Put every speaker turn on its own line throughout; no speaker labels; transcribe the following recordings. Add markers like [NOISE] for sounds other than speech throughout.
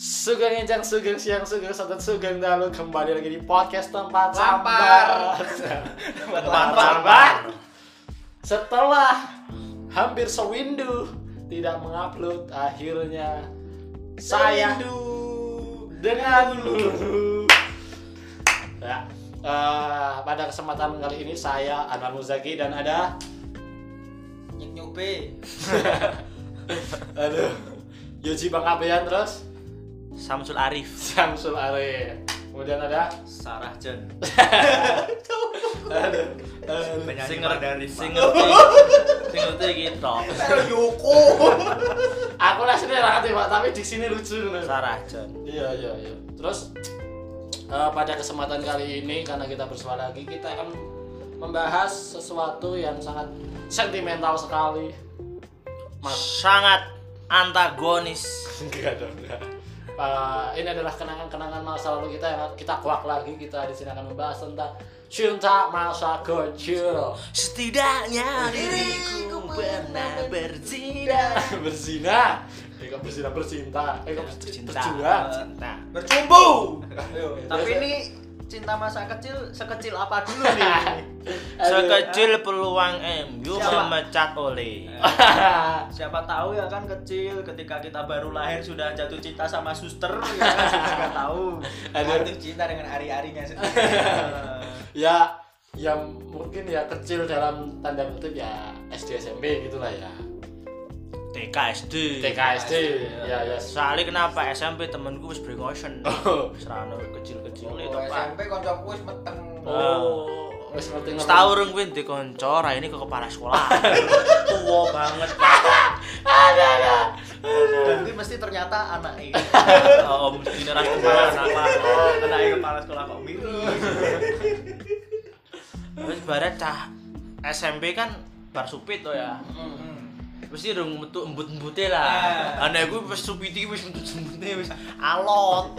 Sugeng Encang, Sugeng Siang, Sugeng Santan, Sugeng Dalu Kembali lagi di podcast tempat
Lapar.
sampar Tempat sampar Setelah hampir sewindu tidak mengupload Akhirnya saya dengan lulu Ya, eh, pada kesempatan kali ini saya Anwar Muzaki dan ada
Nyek nyobe.
aduh Yoji Bangkabean terus
Samsul Arif
Samsul Are kemudian ada
Sarah Jen
aduh, aduh.
Singer dari Singer Singer gitu
Pero Yoko.
aku rasanya rakyat pak tapi di sini lucu bener.
Sarah Jen
iya iya iya terus eh, pada kesempatan kali ini karena kita bersuara lagi kita akan membahas sesuatu yang sangat sentimental sekali
sangat antagonis
enggak dong enggak Eh, ini adalah kenangan-kenangan masa lalu kita yang kita kuak lagi kita di sini akan membahas tentang cinta masa kecil
setidaknya
diriku pernah
berzina
[LAUGHS] berzina eh kok berzina bercinta eh kok
cinta
berjuang
cinta
Bercumbu. Tapi ini cinta masa kecil sekecil apa dulu nih?
[LAUGHS] sekecil peluang MU
Siapa? Ah.
memecat oleh
Siapa tahu ya kan kecil ketika kita baru lahir sudah jatuh cinta sama suster ya
[LAUGHS]
kan kita nggak tahu.
Aduh.
Jatuh cinta dengan ari-arinya
[LAUGHS]
sendiri.
ya yang mungkin ya kecil dalam tanda kutip ya SD SMP gitulah ya
TKSD
TKSD ya ya
soalnya kenapa SMP temenku wis bringosen serano kecil-kecil itu
Oh,
pak
SMP kancaku wis meteng.
Ah.
oh wis penting
Setahu urung kuwi ndek kanca, ra ini ke kepala sekolah.
[LAUGHS]
Tua banget.
ada ada
Dan ini mesti ternyata anake.
Om mesti ra kepala apa.
Anake kepala sekolah kok miris.
Terus barat cah SMP kan bar supit to ya.
Mm.
Mesti urung metu embut-embute lah.
Ah.
Ana iku wis supit iki wis embut-embute wis
[LAUGHS]
alot.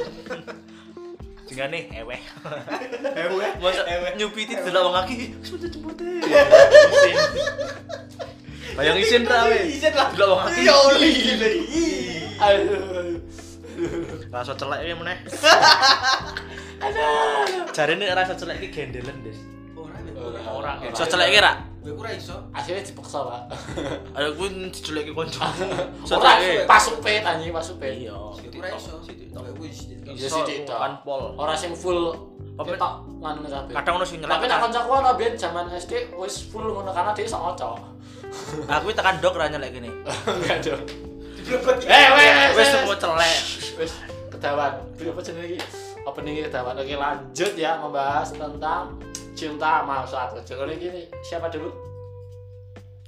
Jengane eweh.
Ewe,
Masa nyupiti delok wong aki wis embut-embute.
Iya.
Isin. Bayang isin ra weh.
Isin lah.
Delok wong aki.
Ya oli.
aduh
Rasa celek iki
[LAUGHS]
meneh. Jarene rasa celek iki gendelen, Des.
Ora
Ora.
Rasa celek iki ra?
Kowe ora iso.
akhirnya dipaksa pak
Ayo gue diculik ke konco
orang
Soalnya
pas supit anjing pas supit
Iya
Kowe ora iso. Kowe wis.
Iya sih Cita.
Kan pol
orang sing full
Apa-
ketok nganu kabeh
Kadang ono sing
tapi
nyelak
nak kancaku ana biyen zaman SD wis full ngono karena dia iso ngocok [LAUGHS]
Aku tekan dok ra nyelek gini
enggak dong
Diblebet.
eh weh
Wes Iya, semua celek
wis ketahuan Beli apa jenenge iki openingnya ketahuan oke lanjut ya membahas tentang cinta masa kecil ini gini siapa dulu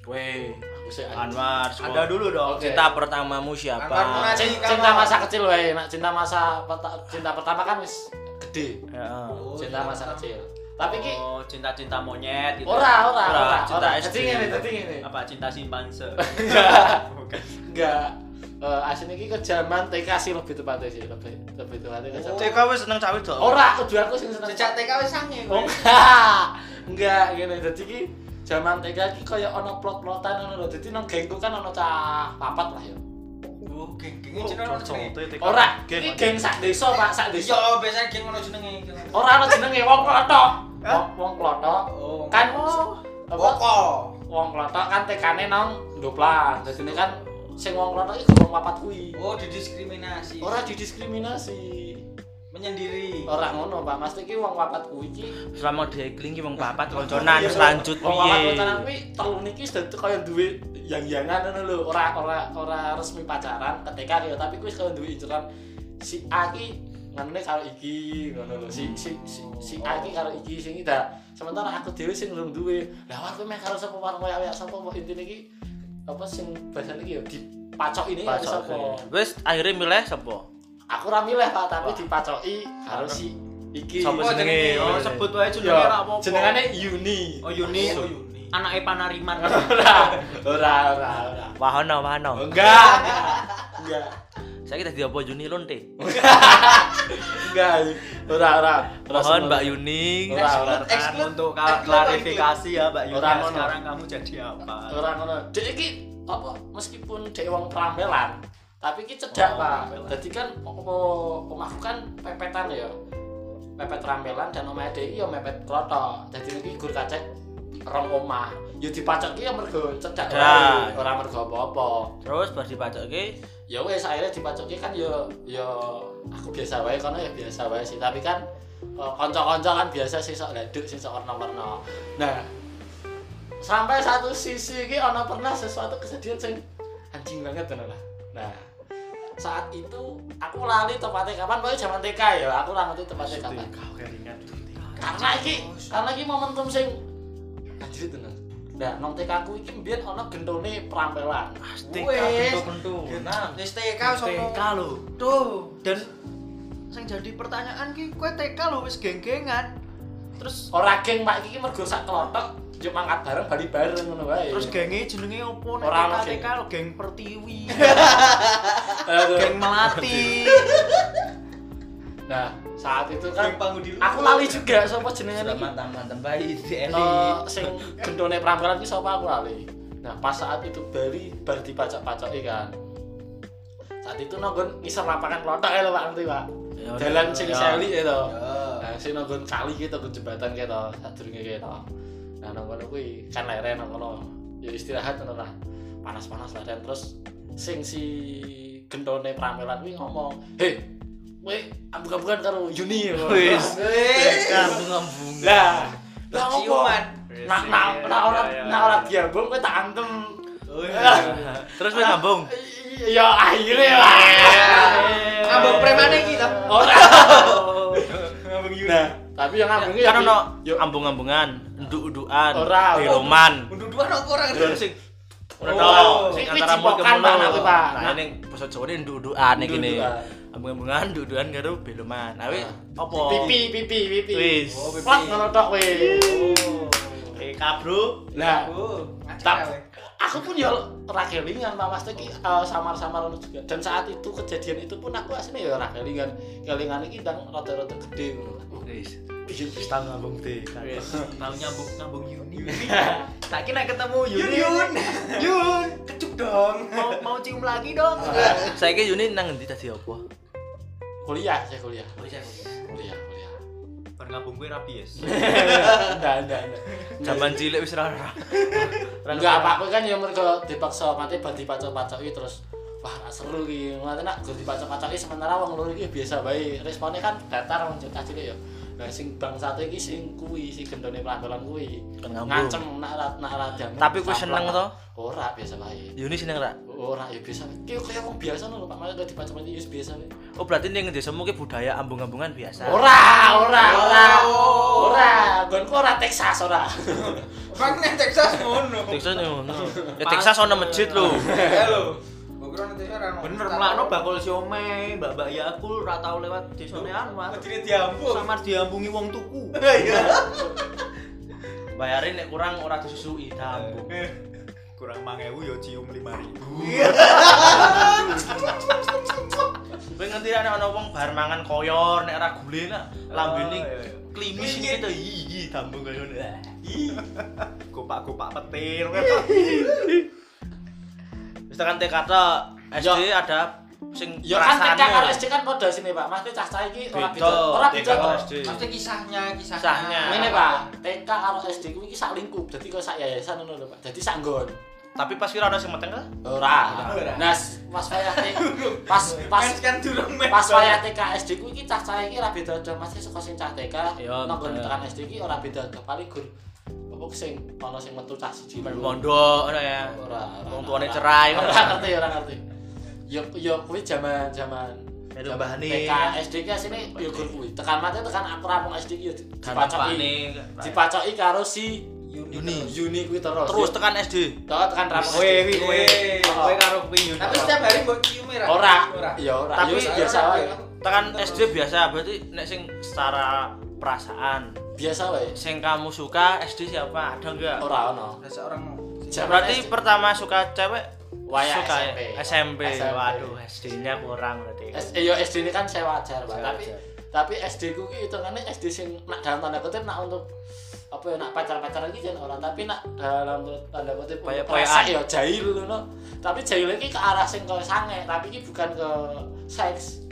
Weh
aku sih
Anwar semua.
Ada dulu dong.
Oke.
Cinta pertamamu siapa?
Anwar Munaj.
Cin- cinta masa kecil wae nak cinta masa peta- cinta pertama kan wis gede
Heeh.
cinta masa kecil tapi ki
iya. Oh, cinta-cinta monyet gitu.
ora ora
Ora,
ora
cinta
ora
SD.
dadi ngene dadi ngene
Apa cinta simpanse?
[LAUGHS] enggak Eh, aslinya ki ke zaman TK sih lebih tepatnya sih lebih lebih tepatnya ke zaman
TK wes seneng cawe dok
ora tujuan aku sing seneng
Sejak TK wis sange.
Oh, [LAUGHS] enggak, enggak gini. Jadi ki zaman TK ki kaya ono plot-plotan ono lho. Dadi nang gengku kan ono cah papat lah ya.
Oh, geng-genge jenenge ono jenenge.
Ora, iki geng sak desa, Pak, sak
Iya,
desa.
biasanya geng ono jenenge.
Ora ono jenenge wong klothok. Wong- Wong klothok.
Oh.
Kan apa?
Boko.
Wong klothok kan TK-ne nang Ndoplan. Dadi ini kan sing wong klothok iki geng papat kuwi.
Oh, didiskriminasi.
Ora didiskriminasi.
menyendiri.
Ora ngono, Pak. Mesti ki wong papat kuwi iki
Selama dia klingi wong papat konconan Terus lanjut
Iya. Wong papat
piye
klotokan kuwi telu niki sudah kaya duwe yang-yangan ngono lho, ora ora ora resmi pacaran ketika ya tapi kuwi kaya duwe inceran si A ki nganune karo iki ngono lho.
Hmm.
Si si si, si A ki karo iki sing iki dah. Sementara aku dhewe sing belum duwe. Lah aku meh karo sapa warung koyo sapa kok intine iki apa sing bahasane iki ya dipacok ini karo sapa.
Wes akhirnya milih sapa?
Aku ra milih Pak, tapi dipacoki karo si iki.
Sapa
Oh,
jenenge?
jenenge. Iya.
Oh, sebut wae
Ya,
jenenge ora apa-apa.
jenengane Yuni.
Oh, Yuni.
Oh, Yuni.
Anake Panariman.
Ora, ora, ora, ora.
Wahana wahana
Enggak. Enggak.
Saya kita apa Juni lonte
Enggak. Ora ora.
Mohon Mbak Yuni
Ora, ora.
Silakan
Exclude.
untuk ka-
Exclude.
klarifikasi ya, Mbak Yuni.
Ora ngono.
Sekarang kamu jadi apa?
Ora ngono. Dek iki apa meskipun dek wong prambelan, tapi ki cedak
Oh,
pak
rampelan.
jadi kan apa omahku kan pepetan ya pepet rampelan dan omah DI ya mepet klotok jadi ini gur kacek rong omah ya dipacok ki ya mergo cedak
Cedak.
wae, ora mergo apa-apa
terus pas dipacokke
ya wes akhirnya dipacok ki kan ya ya aku biasa wae karena ya biasa wae sih tapi kan eh, kanca-kanca kan biasa sih sok leduk sih sok warna-warna nah sampai satu sisi ki ono pernah sesuatu kejadian sing anjing banget bener lah nah saat itu aku lali tepatnya kapan pokoknya zaman TK ya aku lah ngerti tepatnya kapan
kau keringat
karena iki karena iki momentum sing anjir tenan nah nong TK aku iki mbiyen ono gendone perampelan
pasti
Wes.
bentuk
Wis TK
TK lho
Tuh, dan yang jadi pertanyaan ki, kue TK lo wis geng-gengan. Terus
ora geng pak iki mergo sak kelotok yo mangkat bareng bali bareng ngono wae
terus gengnya jenenge opo nek
Orang
TK
sih.
TK lo geng Pertiwi,
Aduh.
geng Melati.
nah saat itu kan
Pangudi
aku lali juga sapa jenenge
Sudah
iki
mantan-mantan bayi di
Eh, sing gendone perampelan iki sapa aku lali nah pas saat itu bali bar dipacak-pacoki kan saat itu nonggon ngisor lapangan kelotok ya lho pak nanti pak jalan sing seli itu nah sing nonggon kali gitu nonggon jembatan gitu sadurunge gitu nah nonggon kuwi kan leren nonggon ya istirahat ngono lah panas-panas leren terus sing si gendone pramelan kuwi ngomong hei we ambukan-ambukan karo Yuni wis
bunga-bunga
lah lah Nah, opo
ciuman.
nak nak nak ora
Iya,
nak ora nah, diambung kowe tak antem Iya.
terus wis sambung
ya akhirnya lah
Iya,
Abang premane ki ta.
ora
Abang Yuri.
nah tapi yang ngambung
kan ono
yo
ambung-ambungan nduk-ndukan
Ora.
diroman
Undu dua no orang
terus sing
Oh.
Ora
Sing
sing
kuwi
antara mul
cipokan, Pak, nak kuwi, Pak.
Nah,
Nak-
ning basa Jawa ini nduk-ndukan iki ne.
Nduk-ndukan.
Ambung-ambungan nduk-ndukan karo beloman. Nah, wis
Ah.
opo?
pipi pipi pipi
Oh, Wis. Eh,
plot ngono tok kowe
TK, Bro.
Nah.
lah
Oh, Tap.
aku pun ya ragelingan pak mas Teki eh, samar-samar ngono juga dan saat itu kejadian itu pun aku aslinya ya ragelingan kelingan ini dan rada-rada gede ngono lah
Wis.
bikin
Pistang ngambung TK. Wis.
Tahu nyambung nyambung Yuni.
[LAUGHS] Tak kira ketemu Yun.
Yun, Yun.
Yun, kecup dong. Mau mau cium lagi dong.
Saiki Yuni nang endi dadi opo?
kuliah saya kuliah
Pernah
kuliah kuliah
ngambung gue rapi ya.
enggak enggak enggak
Zaman cilik wis ora ora.
enggak apa aku kan yang mereka dipaksa mati ban dipacok-pacok itu terus wah gak seru ki ngono nak gur dipacok-pacok iki sementara wong loro iki ya biasa bae responnya kan datar wong cilik cilik ya nah sing bang satu iki sing kuwi si gendone pelantolan kuwi
Kan ngambung.
ngancem nak rat nak rat jamu.
Tapi kuwi seneng to?
ora biasa bae
Yuni seneng ra?
ora ya biasa bae. ki kaya wong biasa lho Pak Mas dipacok-pacok iki biasa bae
Oh, berarti ning desamu ki budaya ambung-ambungan biasa.
ora ora ora
Oh.
ora gonku ora Texas
[LAUGHS]
ora
Bang nek Texas ngono.
Texas ngono. [LAUGHS] Ya Texas ono masjid lho.
Halo. Gua kira nek Texas ora ono.
Bener melakno bakul siomay, mbak-mbak ya aku ora tau lewat desone Anwar.
Jadi diambung.
Samar diambungi wong tuku.
Bayarin nek kurang ora disusui tambung.
Eh, Kurang 5000 yo cium 5000.
Kowe ngerti nek ana wong bar mangan koyor nek ora gule nah,
Oh,
lambene
iya, iya.
klimis iya, iki to iki tambung kaya ngono.
Gopak-gopak petir.
Wis tekan TK to SD ada sing
Ya kan TK karo
perasaannya.
SD kan podo sini Pak. Maksudnya cah-cah iki ora
Beda,
beda. Ora
TK
beda.
karo
Pak.
SD.
Pasti kisahnya, kisahnya.
Kisahnya.
Ngene Pak, TK karo SD ku iki sak lingkup. Dadi kok sak yayasan ngono lho Pak. Dadi sak nggon.
Tapi pas kira ana sing meteng lah.
Ora.
Ora.
Nah, s- pas wayah
[LAUGHS]
TK pas pas
Pas kan durung men.
pas wayah TK SD ku iki cah-cah iki ora beda do. Maksudnya saka sing cah TK
Iya,
nang nggon
bener.
tekan SD iki ora beda do. Paling gur apa sing ana sing metu cah siji. Ora.
Mondok ngono ya.
ora,
Wong
ora,
tuane
ora.
cerai.
Ora ngerti, ora ngerti. Yo yo kuwi zaman-zaman
Metu
zaman
bahane.
TK SD ki asine yo ya gur kuwi. Tekan mate tekan aku rampung SD ki yo ya di- dipacoki.
Dipacakne.
Nah, Dipacoki karo si
Yuni.
Yuni kuwi terus.
Terus kan tekan SD.
Tekan- tekan rampung.
Kowe
SD.
wi kowe. Kowe karo kuwi Yuni.
Tapi setiap hari mbok cium ora.
Ora.
Ora.
Ya ora.
Tapi
Tapi biasa wae.
Tekan SD biasa berarti nek sing secara perasaan
Biasa wae.
sing kamu suka SD siapa ada enggak?
Ora ono.
Biasa orang mau.
Zaman
Ya Berarti
SD
pertama suka cewek
Waya
suka
SMP.
SMP.
SMP.
Waduh, SD-nya kurang berarti.
S- eh, yo SD ini kan saya wajar, Pak.
Saya
Tapi
wajar.
tapi SD ku ki hitungannya SD sing nak dalam tanda kutip nak untuk apa ya nak pacar-pacaran gitu kan orang tapi nak dalam tanda kutip
Paya-payaan.
perasa ya jahil loh no. tapi jahilnya iki ke arah sing koyo sange tapi iki bukan ke seks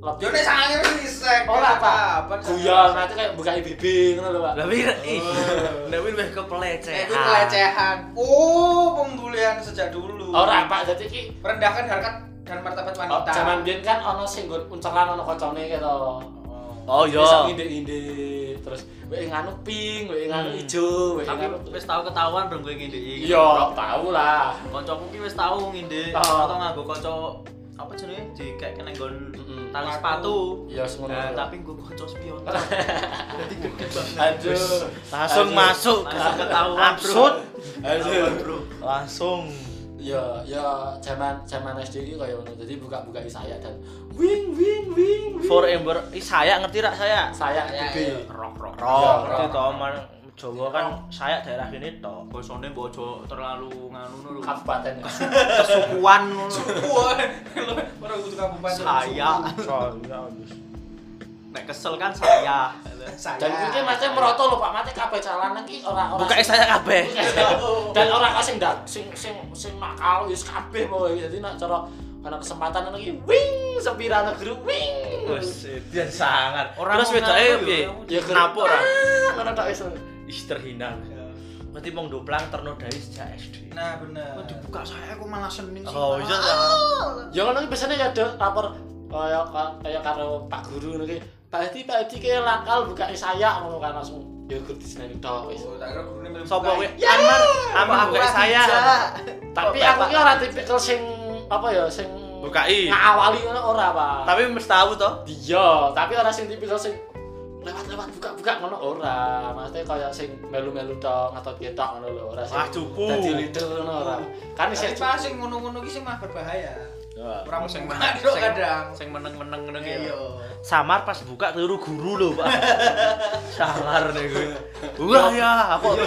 lebih
Jone Ya, sange wis sek.
Ora, Pak.
Apa?
guyon nanti kayak buka IBB ngono lho Pak
Tapi ih, tapi lebih ke pelecehan.
Itu pelecehan. Oh, pembulian sejak dulu.
ora Pak jadi iki
Merendahkan harkat dan martabat
oh,
wanita.
zaman biyen kan ono sing nggon uncelan ono kocone gitu
Oh
bisa
iya.
ngindek-ngindek terus wae nganu pink wae nganu ijo wae
Tapi
nganu
wis tau ketahuan dong gue ngide iki.
iya tau lah
Kancaku ki wis tau ngide
Oh.
atau nganggo kanca apa jenenge dikek kena nggon
Mm-mm.
tali
Sepatu.
sepatu.
iya semua
Eh,
Nah, tapi gue kanca spion. Jadi gede banget.
aduh
Langsung
Aduh.
masuk.
Langsung nah, ketahuan, bro.
Absurd.
aduh
Langsung.
ya ya zaman zaman SD iki kaya ngono. Jadi buka-buka saya dan wing wing wing wing.
Forever. Ih, saya ngerti rak saya.
saya
Saya,
gede.
iya.
Rok rok rok.
Iya,
Roh, ngerti
roh.
toh man Jawa kan saya daerah gini toh.
Bosone mbok ojo terlalu nganu lho.
kabupaten.
Kesukuan ngono.
Wah, lu orang kudu kabupaten.
saya.
Saya wis.
Nek kesel kan saya.
Saya.
Dan iki mesti meroto lho Pak, mate kabeh calon iki ora ora.
Bukae saya kabeh.
Dan ora kok sing ndak- sing sing sing nakal wis kabeh pokoke. Jadi nek cara ana kesempatan ngono iki wing sepira negeri wing.
Wis, dia sangar.
Orang
Terus
mau
wedake
ngaku,
piye?
orang mau
Ya
Kenapa ora?
Ah, Ngono tok wis.
Ih, terhina. Berarti mong doplang ternodai sejak SD.
Nah, bener.
Kok dibuka saya aku malah seneng sih.
Oh, iya
Pak.
toh.
Ya ngono iki biasanya ya Dok, lapor kaya kaya karo Pak Guru ngono iki. Pak Edi, Pak Edi kayak nakal buka saya ngono kan langsung ya kudu diseneni tok wis.
Oh, tak kira gurune mlebu kain.
Sopo kowe? Anwar, Anwar
Aku
bukae
lagi
saya.
jak.
Tapi
Kok
aku
bapak-
ki ora tipikal sing apa ya sing
Bukai.
ngawali ngono ora, Pak.
Tapi mesti tahu toh.
Iya, tapi ora sing tipikal sing lewat-lewat buka-buka ngono ora. Maksudnya kaya sing melu-melu tok atau ketok ngono lho, ora sing.
Wah, cupu.
Dadi leader ngono ora. Kan
Tapi
isih
pas sing ngono-ngono ki sing mah berbahaya. Ora mung
Sing
sing
meneng-
kadang.
sing-
kadang.
Sing meneng-meneng ngono ki. ya.
Iya.
Samar pas buka keliru guru loh, [LAUGHS] Pak. Samar nih gue. Wah ya, kok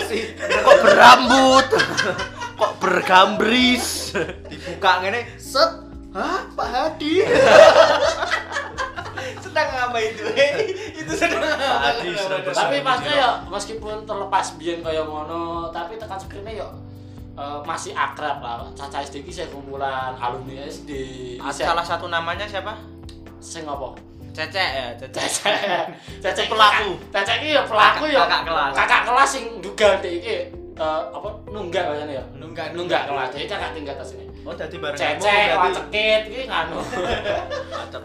kok berambut. [LAUGHS] kok bergambris.
Dibuka ngene set. Hah, Pak Hadi.
[LAUGHS] Sedang apa itu? eh. Itu sedang.
Tadi
apa?
serem
tapi maksudnya ya meskipun terlepas biyen kaya ngono, tapi tekan sekrene ya eh, masih akrab lah. Caca SD iki saya kumpulan alumni SD. Isih-
Salah satu namanya siapa?
sing apa?
Cecek ya, Cecek.
Cecek. Cecek
Pelaku.
Cecek iki ya pelaku ya.
Kakak kelas.
Kakak kelas sing duga ndek iki eh, apa nunggak kayaknya ya.
Nunggak,
Nunggak kelas. Jadi kakak tingkat atas ini.
Oh, dadi bareng
Cecek, wacekit iki nganu.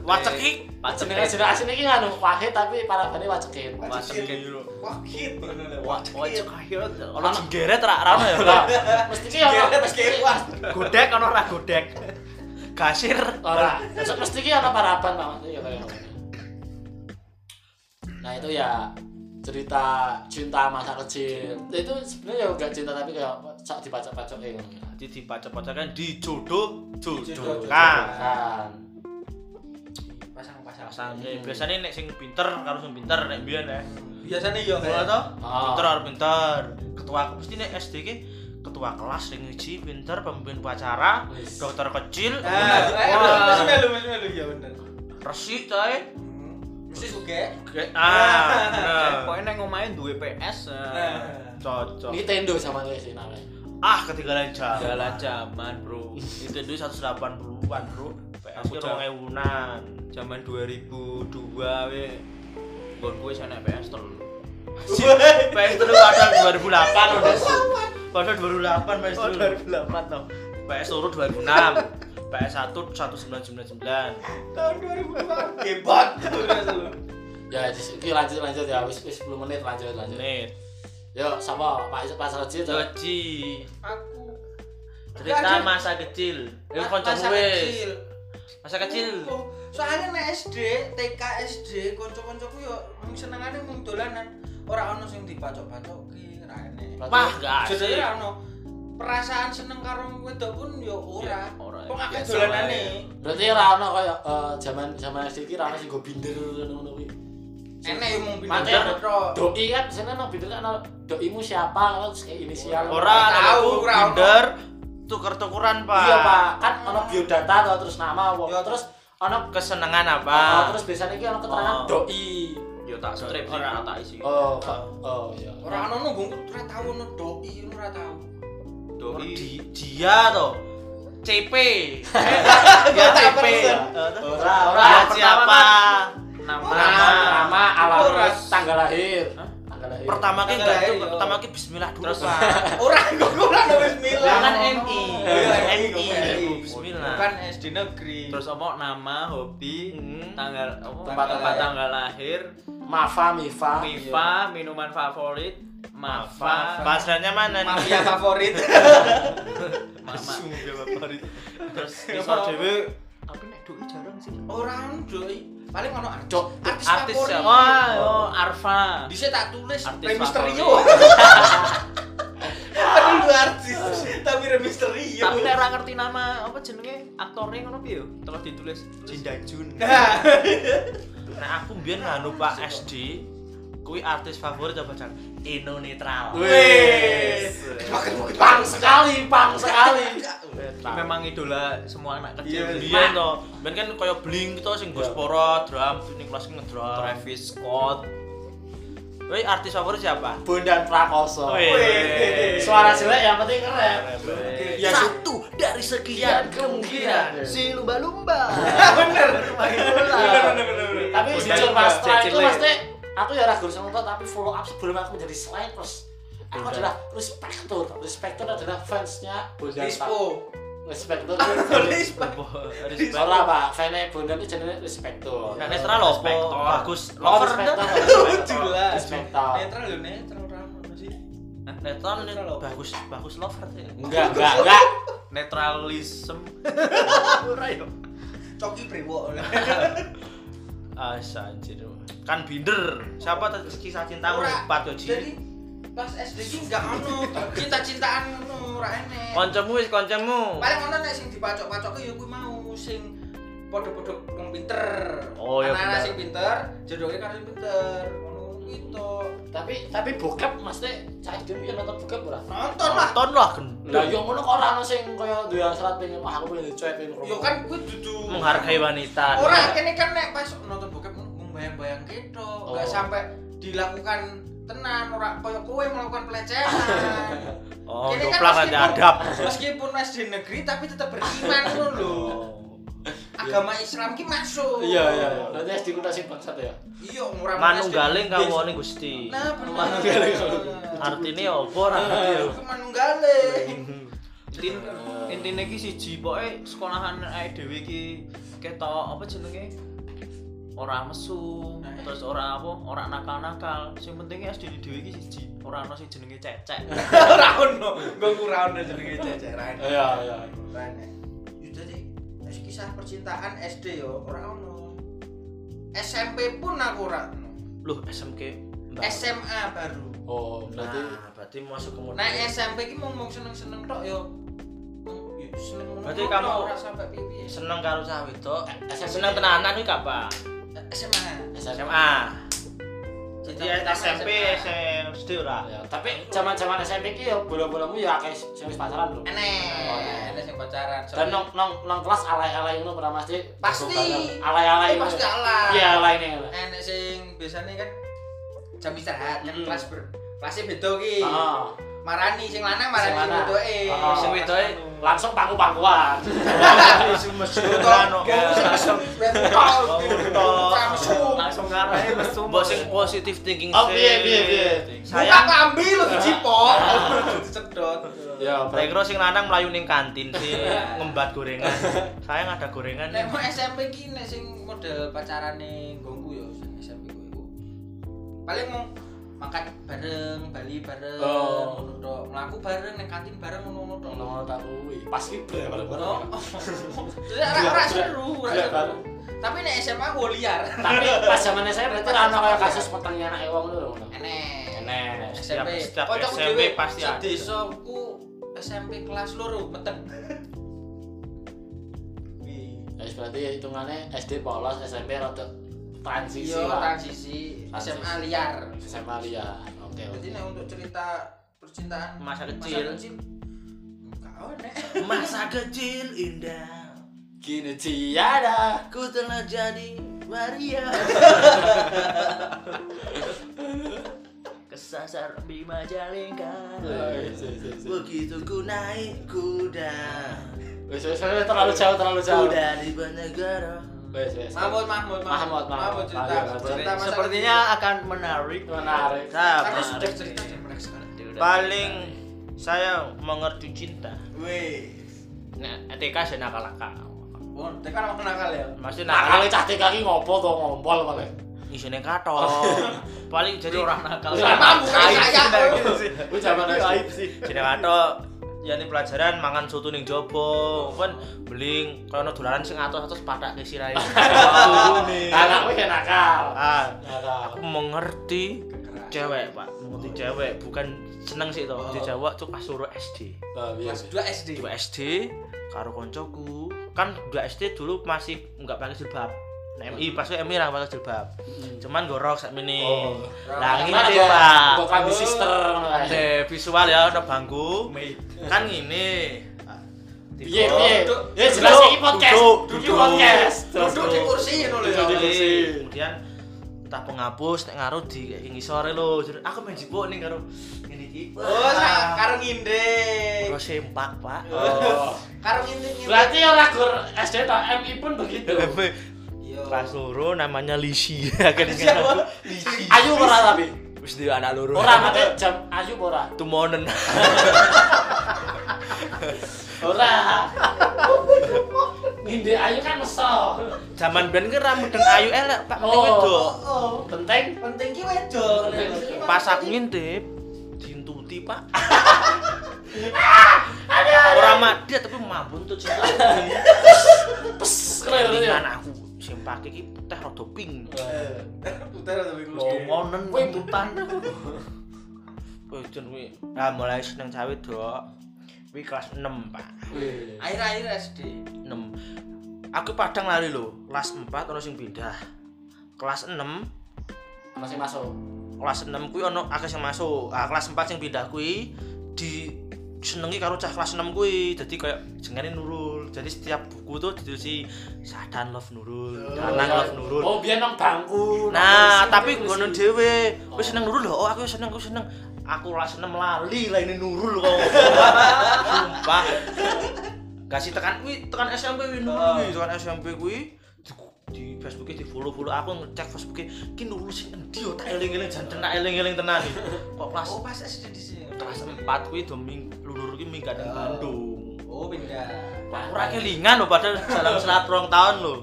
Wacekik.
Jenenge jeneng asline iki nganu wahid tapi parabane wacekit.
Wacekit. Wahid.
Wacekit.
ngono lho,
Wacekit.
Wahid.
Ono jenggeret ra rano ya. [LAUGHS]
Lah, mesti ki ono
Kira-kira
mesti
kayak wah.
Godek ono ora godek.
Kasir.
ora. Terus mesti ki ono paraban Pak. Maksudnya ya kaya ngono. Nah, itu ya cerita cinta masa kecil itu sebenarnya ya enggak cinta tapi kayak sak dipacok-pacok kayak ngono.
Jadi dibaca-baca kan dijodoh jodohkan.
Kan.
Pasang-pasang.
Rasane biasanya nek sing pinter karo sing pinter nek biyen ya.
Biasanya iya
Ora
kayak.
toh?
Oh.
Pinter harus pinter. Ketua mesti nih SD ki ketua kelas sing siji pinter pemimpin upacara,
Wis.
dokter kecil,
Nah, eh,
Wah.
mesti melu, mesti melu iya bener.
resik coy.
Mesti Hmm. suge.
Ge- Ah, bener.
Pokoke nang omahe duwe eh. PS.
Nah.
cocok.
Nintendo sama kayak sih namanya.
Ah, ketinggalan jam.
Segala zaman, Bro.
Itu duit 180-an, Bro. PS ki
Aku cok.
2000-an.
Zaman 2002 we. Gon kuwi sana PS telu.
PS itu padahal 2008 udah. Padahal 2008 PS
Oh,
dulu.
2008 toh.
PS turun 2006. PS1 1999.
Tahun 2004. Hebat. Udah dulu.
Ya, dis- iki lanjut lanjut ya, wis wis 10 menit lanjut lanjut.
Menit.
Yo, sama Pak ya? Isut Pak Roji to.
Joji.
Aku.
cerita masa kecil ya
Ma-
konco
masa
wis
kecil.
masa kecil
Oh, Soalnya nek SD, TK SD, kanca-kancaku yo mung senengane mung dolanan. Ora ono sing dibacok-bacoki, ora enek.
wah
Jadinya
gak asik
ora ono perasaan seneng karo wedok pun yo ora.
Ya, ora.
Kok akeh
Biasa
dolanane.
Berarti ra ono kaya eh, zaman zaman SD iki ra ono sing go binder ngono-ngono kuwi.
Enek yo mung
Mate
pindah
ono- Doi kan biasanya nang binder kan ono doimu siapa terus kayak inisial.
ora
Tahu,
aku
ora ono.
binder tuker tukeran pak
Iya, Pak. Kan ono biodata to terus nama apa.
Yo.
Terus ono
kesenangan apa
oh, terus biasanya iki ono keterangan
Oh.
doi.
Yo tak strip sih,
Ora.
ora tak isi.
Oh, Pak. Oh, iya.
Ora ono nunggu ora tau ono doi ora tau.
Di-
Doi
dia toh CP. Iya,
Ya,
tak
CP.
person.
Ora, ora.
Lihat
pertama,
siapa?
Nama.
Nama, nama, alamat,
Ora.
tanggal lahir. Tanggal lahir.
Pertama ki
Tanggal
enggak
lahir,
itu,
yo.
pertama ki bismillah dulu.
Terus,
Pak.
Ora kok ora no bismillah.
Lah, kan MI.
Iya, Kan-
MI.
MI.
Bismillah.
Bukan SD negeri.
Terus apa nama, hobi,
Hmm.
tanggal apa,
Tempat
tempat
lahir. Ah, iya.
tanggal lahir,
Mafa, Mifa.
FIFA, minuman favorit, Mafa,
Bahasanya mana nih?
mafia favorit. [LAUGHS]
Mama.
favorit.
Terus
Apa?
iso dhewe tapi nek doi jarang sih.
Ora ono doi. Paling ono artis.
Cok.
Artis
Artis
favorit.
ya. Wah, oh, Arfa.
Bisa tak tulis
Artis
Rey Mysterio.
favorit.
Padahal dua artis, tapi Rey Mysterio. Nah.
Tapi nek ora ngerti nama apa jenenge aktornya ngono piye yo? Terus ditulis Jinda Jun.
Nah, aku biyen nganu Pak SD kuwi artis favorit apa jan Eno Netral.
Wes. Pang sekali, pang sekali.
Memang idola semua anak kecil.
Iya,
Iya. sih.
Biyen to, ben kan koyo Blink to sing Gosporo drum ning kelas ki ngedrum.
Travis Scott.
Woi, artis favorit siapa?
Bondan Prakoso.
Wih.
Suara jelek yang penting Oh, iya. keren. Ya, su-
Satu dari sekian kemungkinan si lumba-lumba.
[LAUGHS] bener. Bener bener bener. bener.
Tapi
Bondan
jujur mas,
Pras-
setelah itu
Cecile.
pasti aku ya ragu sama nonton tapi follow up sebelum aku menjadi sliders. Aku adalah respector. Respector adalah fansnya Bondan
Dispo.
Prakoso. [LAUGHS] Respector. itu-
Respect.
Soalnya apa? Fansnya Bondan itu jenisnya respector.
Nah, Netral lho,
Respect.
bagus.
[LAUGHS] Oh,
Lover
respector,
Nat.
respector.
Jelas.
Respector.
Netral yo netral ora ono sih.
Netral nih,
Netral lho.
bagus, bagus lover ya.
Enggak, enggak, enggak.
Netralism. Ora yo.
Coki Brewo.
Asa anjir. Kan binder. Siapa tadi kisah cintamu
Ora.
Pak Joji?
Jadi pas SD ki enggak ono cinta-cintaan ngono ora enek.
Koncemu wis koncemu.
paling ono nek sing dipacok-pacok ya kuwi mau sing padha-padha wong pinter.
Oh, iya,
Anak-anak
bener.
sing pinter, jodohe karo sing pinter. gitu. Ngono kuwi to.
Tapi tapi bokep maksudnya cah dulu yang nonton bokep ora.
Nonton lah.
Nonton lah gendut.
Lah yo ngono kok ora ono sing kaya duwe hasrat pengen wah aku pengen dicuek pengen ngerokok."
Yo kan kuwi dudu
Menghargai wanita.
Ora kene kan nek pas nonton bokep mung bayang-bayang ketok, enggak
Oh.
sampai dilakukan tenan ora koyo kowe melakukan
[LAUGHS]
pelecehan.
Oh,
Kene
doplak ada adab.
Meskipun SD negeri tapi tetap beriman ngono lho. Agama Islam ki masuk.
Iya iya. Berarti SD ku sing bangsat ya.
Iya, ora
Manunggaling kawone Gusti.
Nah, bener.
Manunggaling.
Artinya apa ora ngerti ya.
Aku manunggaling.
Intin intine iki siji pokoke sekolahan ae dhewe iki ketok apa jenenge? Ora mesu,
Nah.
terus ora apa, ora nakal-nakal. Sing penting SD dhewe iki siji, ora ono sing jenenge cecek.
[LAUGHS] Ora ono, nggo ora ono jenenge jajaran.
Iya iya.
Rene. Yudha sih, eh. wis kisah percintaan SD yo ora ono. SMP pun aku ora ono.
Loh, SMK. Mbak.
SMA baru.
Oh,
Nah,
berarti
berarti masuk ke mode.
Nah, SMP ki mung mung seneng-seneng tok yo. Mung yo seneng ngono.
Berarti
tok,
kamu-
ora sampai pipi.
seneng karo cah wedok.
SMP.
Seneng tenanan kuwi kapan?
SMA.
SMA. Jadi
Cita-cita
SMP,
SMA.
SD [LAUGHS] ora.
Ya, tapi zaman-zaman SMP ki ya bola-bolamu ya akeh sing wis pacaran belum.
Enek,
Oh, iya.
enek sing pacaran.
Dan nong nong nong kelas alay-alay ngono pernah mesti
Pasti.
Bukan, alay-alay.
Eh,
ngono.
pasti alah.
Iya, alay nih.
enek sing biasanya kan jam istirahat kan
Mm.
kelas ber kelasnya beda ki
Heeh.
marani sing lanang marani
Sing
sing
lanang.
wedoke
Oh. Sing
e
wedoke.
Langsung [LAUGHS] pangku-pangkuan.
Betul,
Langsung e, ngarahe mesu.
Mbok sing positive thinking
Oh, piye, piye, piye.
Buka
Sayang,
klambi lo dicipok,
Ah.
dicedot.
Ya,
saya
berarti
kira sing lanang mlayu ning kantin sih
[LAUGHS]
ngembat gorengan. Sayang ada gorengan.
Nek mau SMP ki nek sing model pacarane nggonku ya sing SMP ku iku. Paling mau makan bareng, bali bareng,
Oh.
ngono tok. Mlaku bareng nek kantin bareng ngono-ngono tok.
ngono tak kuwi. Pas ki
Oh.
bareng-bareng.
Jadi ora ora seru, ora
Gila,
seru. Tapi nek SMA ku liar.
Tapi pas zamannya saya berarti ora ono kaya kasus petengnya anak wong lho.
Enek.
Enek.
SMP.
Setiap- setiap
Kocokku
SMP
dhewe
pasti ada.
sedesaku SMP kelas loro meteng.
Ya, berarti ya hitungannya SD polos, SMP rada transisi
Iya,
lah.
transisi
Transisi.
SMA liar.
SMA ya. Oke. oke.
Jadi nek untuk cerita percintaan
Masa
masa
kecil.
kecil gak ada.
Masa kecil indah.
Gini tiada.
Ku telah jadi waria.
kesasar Bima Jalengka.
Eh, si, si, si.
Begitu ku naik kuda.
Wes wes wes, terlalu jauh terlalu jauh.
di negara.
Wes wes.
Mahmud, Mahmud,
Mahmud, Mahmud.
cerita,
Ayo, lanjut.
cerita masa kecil.
Sepertinya akan menarik.
Menarik.
Nah,
Nah,
Karena sudah
Sabar.
cerita dan menarik sekali.
Paling saya mengerti cinta.
Wih,
Nah, TK saya nakal-nakal.
oh, tekan aku nakal ya.
Masih
Nah,
nakal.
kalau cah TK ki ngopo to ngompol malah.
Isinya kato. [LAUGHS] Paling jadi Iya. orang nakal.
Orang mampu,
kan saya.
Ku zaman
Iya, aib
SD.
sih. Jadi kato yani ya pelajaran mangan soto ning jobo, kan beling kalau dolaran sing atus-atus patak ke
[LAUGHS]
sirai.
Nah, Anak kowe ya nakal.
Ah,
Nakal.
aku mengerti
Keren.
cewek, Pak. Mengerti cewek, bukan seneng sih toh. Di Jawa tuh pas suruh SD.
Nah, iya.
Kelas 2 SD.
Di SD karo koncoku, kan 2 SD dulu masih nggak pakai jilbab. Nah,
Hmm.
MI pas itu MI ra pakai jilbab. Cuman gorok sak mini.
Oh.
Lah
Yang
ngene,
mana,
Nah, Pak.
Kok kami sister.
Ada visual ya, ada bangku. Kan ini.
Piye
Tiba-
piye?
Duduk.
Ya jelas
Duduk,
iki podcast.
duduk,
Iki
duduk.
podcast. Jelas,
Duduk di kursi ya lho
Duduk di
ya.
kursi.
Kemudian entah penghapus nek ngaruh di ing sore lho. Jadi, Aku main jipuk ning karo ngene iki.
Oh, sa- karo ngindek.
Karo sempak,
[LAUGHS]
Pak.
Oh.
Karo ngintip-ngintip.
Berarti ya orang gur SD tak MI pun begitu.
Iya.
Kelas loro namanya Lisi. [LAUGHS] Akan
Siapa?
Lisi.
Ayu ora tapi.
Wis dhewe anak loro.
Ora mate jam ayu ora.
tumonen.
Ora. Nginde ayu kan meso.
[LAUGHS] Zaman ben ki ra mudeng ayu elek, Pak. Penting
Oh.
wedok.
Oh,
Penting
penting ki wedok.
Pas aku ngintip dintuti,
[LAUGHS]
Pak. Ora madia tapi mabun tuh
[LAUGHS]
cinta.
pes ya.
Ini
kler.
anakku sempak iki teh rada pink.
Putar atau bingung?
Oh.
Tumonen
Wih.
tuntutan.
Bojon kuwi. Nah, mulai seneng cawit, Dok. Kuwi kelas 6, Pak.
Akhir-akhir SD.
6. Aku Padang lari lho, kelas 4 ono sing pindah. Kelas 6,
Masih masuk.
kelas 6 kuwi ono akeh sing masuk. Ah, kelas 4 sing pindah kuwi di senengi karo cah kelas 6 kuwi. Dadi kayak jengene Nurul. Jadi setiap buku tuh ditulis Sadan Love Nurul, Danang Love Nurul.
Oh, biar nang bangku. nang kursi,
Nah, tapi
kursi.
ngono dhewe. Wis seneng Nurul lho, oh, aku seneng, aku seneng. Aku ora seneng lali lah ini Nurul kok. Sumpah. Kasih tekan kuwi, tekan SMP kuwi Nurul kuwi, tekan SMP kuwi di- di Facebook di follow follow aku ngecek Facebook ki Nurul sing endi yo tak eling-eling jan tenan eling-eling tenan iki. Kok kelas
Oh, pas SD di sini.
kelas 4 kuwi do ming lulur kuwi minggat nang Bandung.
Oh, pindah.
Aku ora kelingan lho padahal dalam selat rong tahun lho.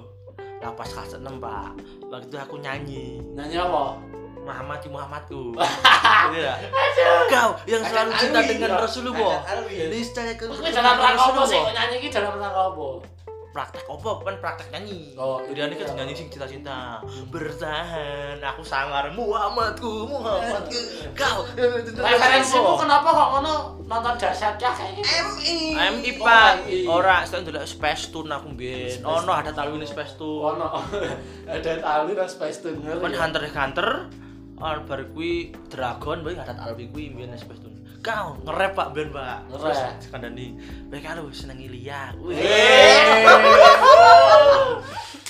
Lah pas kelas 6, Pak. Waktu itu aku nyanyi.
Nyanyi apa?
Muhammad
[LAUGHS]
Muhammadku. Iya. Kau yang selalu cinta
Alwi.
dengan Rasulullah.
Adat Alwi.
Listanya ke
Kuwi dalam rangka apa sih? Kok nyanyi iki dalam rangka apa?
Praktek apa? Kan praktek nyanyi.
Oh, Hmm.
Jadi ini kan nyanyi sing cinta-cinta. Bertahan, aku sangar Muhammadku, Muhammadku.
[LAUGHS]
Kau yang cinta
Referensimu kenapa kok ngono nonton dasar kah kayak gitu?
MI.
MI
Oh,
Pak.
MI.
Ora, sekarang dulu Space Tune aku mbien. Oh no, ada talwin Space Tune.
Ono. [LAUGHS] Ada Alwi dan Space Tune.
Kan Hunter x Hunter Al bar kuwi Dragon bae ngadat Alwi kuwi mbiyen Space Tune. Kau ngerep Pak ben Pak.
Ngerap.
Terus kandani wek karo senengi liya.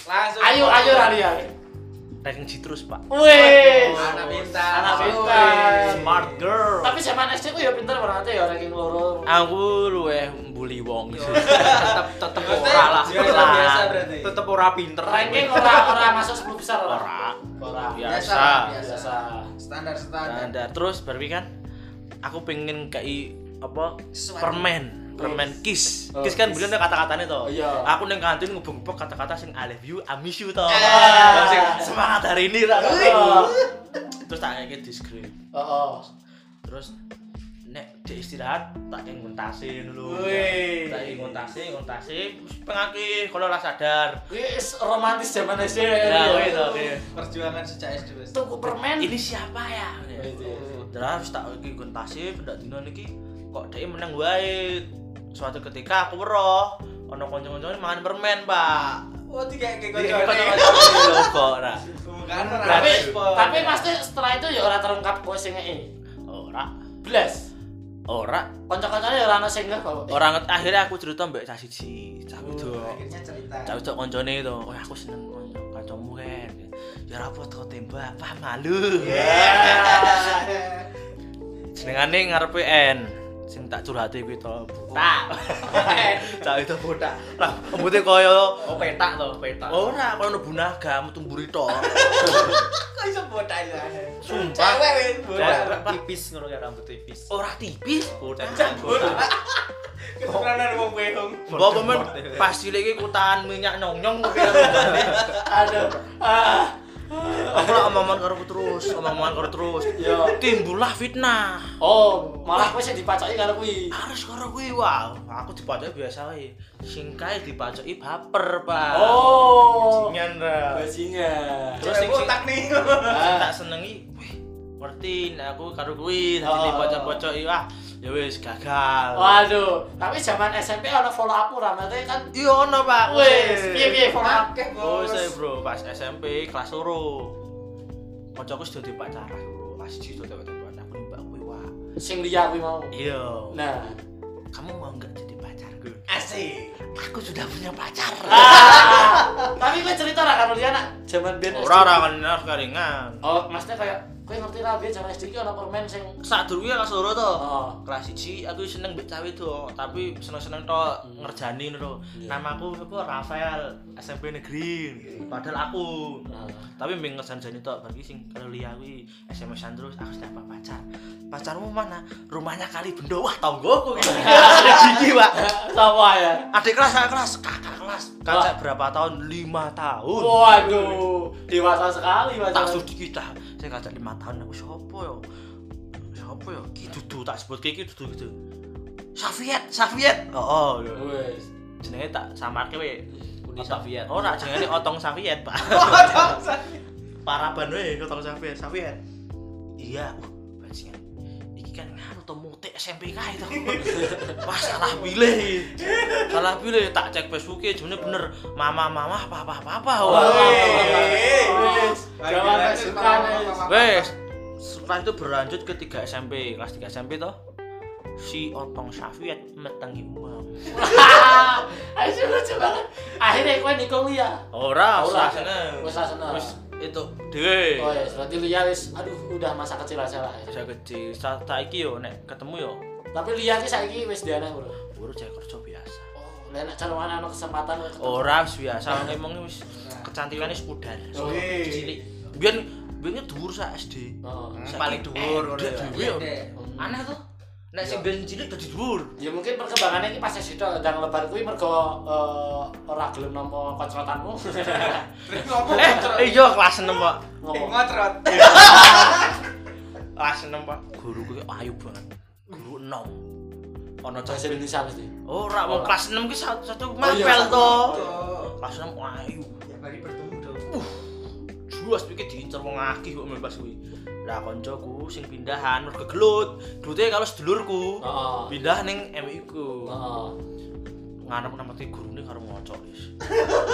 Langsung.
Ayo ayo ya. Ralia.
Ranking citrus Pak.
Wih.
Oh, Anak pintar.
Anak pintar.
Smart girl.
Tapi zaman SD ku ya pinter berarti ya ranking loro.
Aku luweh mbuli wong sih.
Tetep tetep
Maksudnya,
ora lah.
biasa,
Ora.
biasa berarti.
Tetep ora pinter.
Ranking ora ora masuk 10 besar
Ora. Iya.
ora. Ora.
Biasa,
Biasa.
biasa.
Biasa.
Standar standar.
Standar. Terus bar kuwi kan aku pengen kei apa
Sesuatu.
permen permen kiss
Oh,
kiss kan
kiss.
bilang ada kata-katanya toh
Iya.
aku neng kantin ngebengkok kata-kata sing I love you I miss you toh
Ah.
Sing semangat hari ini lah
Wih.
terus tak kayak diskrip
Heeh.
terus nek di istirahat tak ingin nguntasi dulu
Wih.
tak ingin nguntasi nguntasi terus pengaki kalau lah sadar
Wis romantis zaman SD.
ya wih toh wih.
Perjuangan sejak SD wes.
Tuku permen.
ini siapa ya terus tak ingin nguntasi pendak dino niki kok dia menang wae suatu ketika aku weruh ono kanca-kancane mangan permen pak
Oh, tiga kayak
Jadi
kocok.
kocok-kocok kok ora
Bukan ora
Tapi
respon.
tapi pasti setelah itu ya ora terungkap kowe sing ngeki.
ora
Blas.
ora
Kanca-kancane ya ora ana sing ngeh kok.
ora nget- akhirnya aku cerita mbek cah siji cah
Oh,
wedok
akhirnya cerita.
cah wedok koncone itu oh aku seneng kanca- kancamu kan ya rapot kau tembak apa malu
Yeah.
jenengane ngarepe N sing tak curhati kuwi to botak. [LAUGHS] Cak itu botak. Lah embute koyo Oh,
Oh petak toh, petak.
ora koyo nebunaga metu mburi to. Oh,
Kok iso botak itu?
Sumpah.
Cewek weh, botak.
Rambut tipis ngono kayak rambut tipis.
Ora tipis.
Botak. Botak.
Kebetulan ada wong behong.
Mbok men pasti lagi kutaan minyak nyong-nyong kok kira-kira.
Aduh. Ah.
Aku lah omongan karo aku terus, omongan karo terus.
Yo.
Timbullah fitnah.
Oh, malah kowe sing dipacaki karo kuwi.
Harus karo kuwi wah, aku dipacoki biasa wae. Sing kae dipacoki baper, Pak.
Oh.
Jingan ra.
Bajingan.
Cewek
Terus sing-
botak nih.
Ah.
tak senengi wih ngerti nek aku karo kuwi dadi
Oh.
oh. bocah-bocah wah ya wis gagal
Waduh, tapi zaman SMP ana follow up ora, maksudnya kan
iya ono Pak
wis piye piye follow up.
Akeh
oh saya
bos.
bro pas SMP kelas loro kancaku sudah di pacaran loro pas siji sudah dapat pacaran aku mbak kuwi wah
Sing liya kuwi mau.
iya
Nah,
kamu mau enggak jadi pacarku
Asik.
aku sudah punya pacar
tapi kowe cerita ra karo dia nak zaman ben
ora ora kenal keringan
Oh, maksudnya kayak kowe ngerti ra biyen zaman SD ki ana permen sing
saat dulu ya kelas loro to
Oh.
kelas siji aku seneng mbek cawe to tapi seneng-seneng to ngerjani ngono
Hmm. Iya.
namaku aku Rafael SMP negeri padahal aku
Ah.
tapi mbek ngerjani to bagi sing kalau lihat aku SMS-an terus aku sudah apa pacar pacarmu mana rumahnya kali bendo wah tonggoku
[LAUGHS]
gitu gigi pak
Sama ya.
adik kelas kakak kelas kakak kelas kakak berapa tahun lima tahun
Waduh, dewasa sekali mas.
tak sudi kita saya ngajak lima tahun aku siapa yo siapa yo ki dudu tak sebut ki dudu gitu Safiat Safiat oh, oh yo.
Wes.
jenenge tak samarke we
Uni Soviet.
oh nak jenenge otong Safiat pak [LAUGHS] paraban we otong Safiat Safiat iya uh bajingan iki kan nganu to mutik SMP kae to [LAUGHS] wah salah pilih salah pilih tak cek Facebook e jenenge bener mama mama papa papa wah iya.
Weh.
Wes. Jangan
Lagi-lagi
suka
mama,
wes.
mama.
Wes, setelah itu berlanjut ke 3 SMP, kelas 3 SMP toh. Si Otong Safiat metengi uang.
Ayo lucu banget. Akhirnya kowe nikung liya.
Ora,
Ora.
ora seneng.
Wes ra seneng.
Wis itu dhewe.
Oh ya, berarti Lia wis aduh udah masa kecil aja lah.
Saya kecil, sa- saiki yo nek ketemu yo
Tapi Lia ki saiki wis dia nang bro.
buru cek kerja biasa.
Oh, Lah nek cara ana kesempatan kowe ketemu.
Ora wis biasa ngomong wis kecantikane pudar.
Oh,
Weh.
Cilik. Biyen biyen dhuwur sak SD.
Oh.
Saiki
Paling dhuwur ngono
endek
ya.
dhuwur yo.
Endek.
Aneh toh. Nek sing biyen cilik dadi dhuwur.
Ya mungkin perkembangannya ini pas sido dan lebar kuwi mergo eh, ora gelem nomo
[LAUGHS]
kocrotanmu.
Terus ngomong
Eh, iya kelas 6 kok.
Eh,
Ngomong.
ngotrot.
kelas 6 pak guru kuwi ayu banget guru 6 ono
Bahasa
jasmin
Indonesia mesti.
ora Oh, wong kelas 6 ki satu satu
iya,
mapel
satu.
to
Tuh.
kelas 6 ayu
Ya bagi bertemu dong.
jelas pikir diincer wong akeh kok mbas kuwi lah koncoku sing pindahan mergo gelut glute kalau sedulurku
Heeh.
pindah ning MI ku
Heeh.
ngarep nemeti gurune karo ngocok wis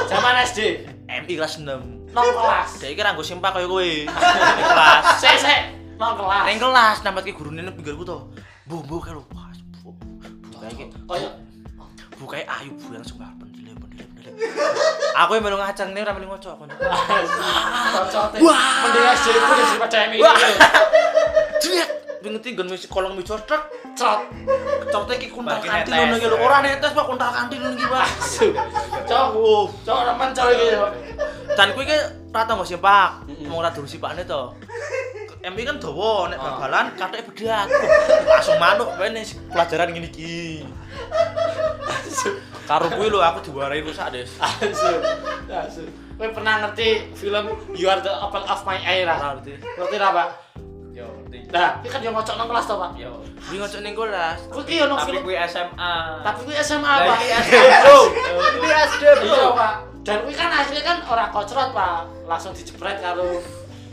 Zaman SD.
MI kelas 6
Nol
[LAUGHS]
kelas.
Dek iki ranggo simpak kaya kowe. Ning kelas.
Sik sik. Nol kelas.
Ning kelas nampatke gurune nang pinggirku to. Mbok mbok karo. Wah, bu- bukae iki. [LAUGHS]
Kayak
bukae ayu bu yang sumpah pendile pendile pendile aku yang melu ngacang nih ora melu ngocok aku
cocote.
Wah.
Mending SD itu daripada MI.
Wah. jelek bingung gon misi kolong misi truk
Cot.
cote iki kuntal
Bagi
kantil
netes.
ngono iki lho ora netes pak kuntal kantil ngono iki pak
Asu. Cok.
Oh,
Cok remen cok iki. Cok.
dan kuwi ki rata nggak simpak
Mm-mm.
mau ora durung simpakne to MP kan dawa nek
Ah.
babalan kathek bedak langsung manuk ben nih, pelajaran ngene iki karo kuwi lho aku diwarai rusak des
Asu. Asu. Kowe pernah ngerti film You Are the Apple of My Eye ra?
ngerti
Ngerti ra, Pak?
Yo ngerti.
Nah, iki kan yo ngocok nang kelas to, Pak.
Yo.
iki ngocok ning kelas
Kowe iki yo nang
Tapi
film
kuwi SMA.
tapi kuwi SMA
Lah,
pak
iki
bro
Ini SD
iya pak dan kuwi kan akhirnya kan orang kocrot pak langsung dijebret karo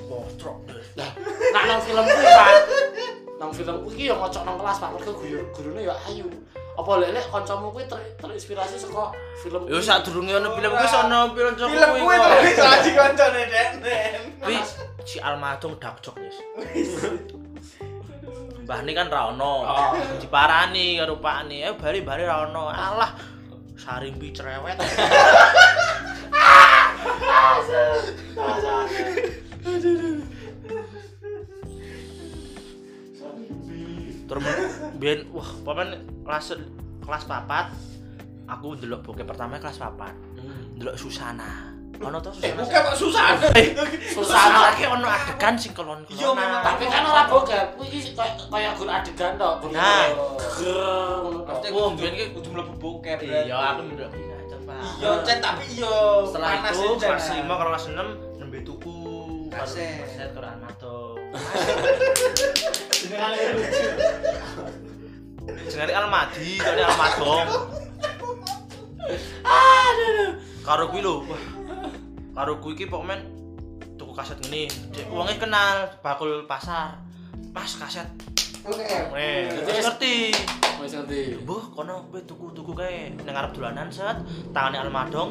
botrok des
lah nak nang film kuwi pak nang film kuwi ki yo ngocok nang kelas pak mergo guru gurune yo ayu apa lele kancamu kuwi ter- terinspirasi saka film
Yo
kuwi?
sak durunge ono film kuwi sono film cok
Film kuwi
kok.
tapi lagi koncone Den. Den.
Kuwi si Almadung dak cok wis. Mbah ini kan ra ono.
Oh.
Diparani karo pakne, eh bari-bari ra ono. Alah. Sarimpi cerewet. Kermen ben wah paman kelas kelas papat aku ndelok bokep pertama kelas papat. Ndelok Susana. Ono to
Eh,
Susana?
bukan
sing-
kok susah.
Eh,
Susah.
Susana lagi ono adegan sing kelon
Iya, memang.
Tapi kan ora bokep, kuwi iki kayak kayak gur adegan tok. gur-
Nah.
Ger- ngono tok.
Pasti
Oh,
aku
mbiyen ki-
kudu mlebu bokep.
Iya,
berarti.
aku ndelok ngacep, Pak.
Iya, Cen, tapi iya.
Setelah
panas
itu
sih, Cen.
kelas 5 karo kelas 6 nembe tuku karo
Kaset.
kaset karo Armando.
[LAUGHS] Jenengan ini lucu.
Jenenge Almadi, tone Almadong. Karo kuwi lho. wah. Karo kuwi iki pokoknya tuku kaset ngene. Dek wonge kenal bakul pasar. Mas kaset. Eh, terus ngerti.
Wis ngerti.
Boh, kono kowe tuku-tuku kae ning arep dolanan set, tangane Almadong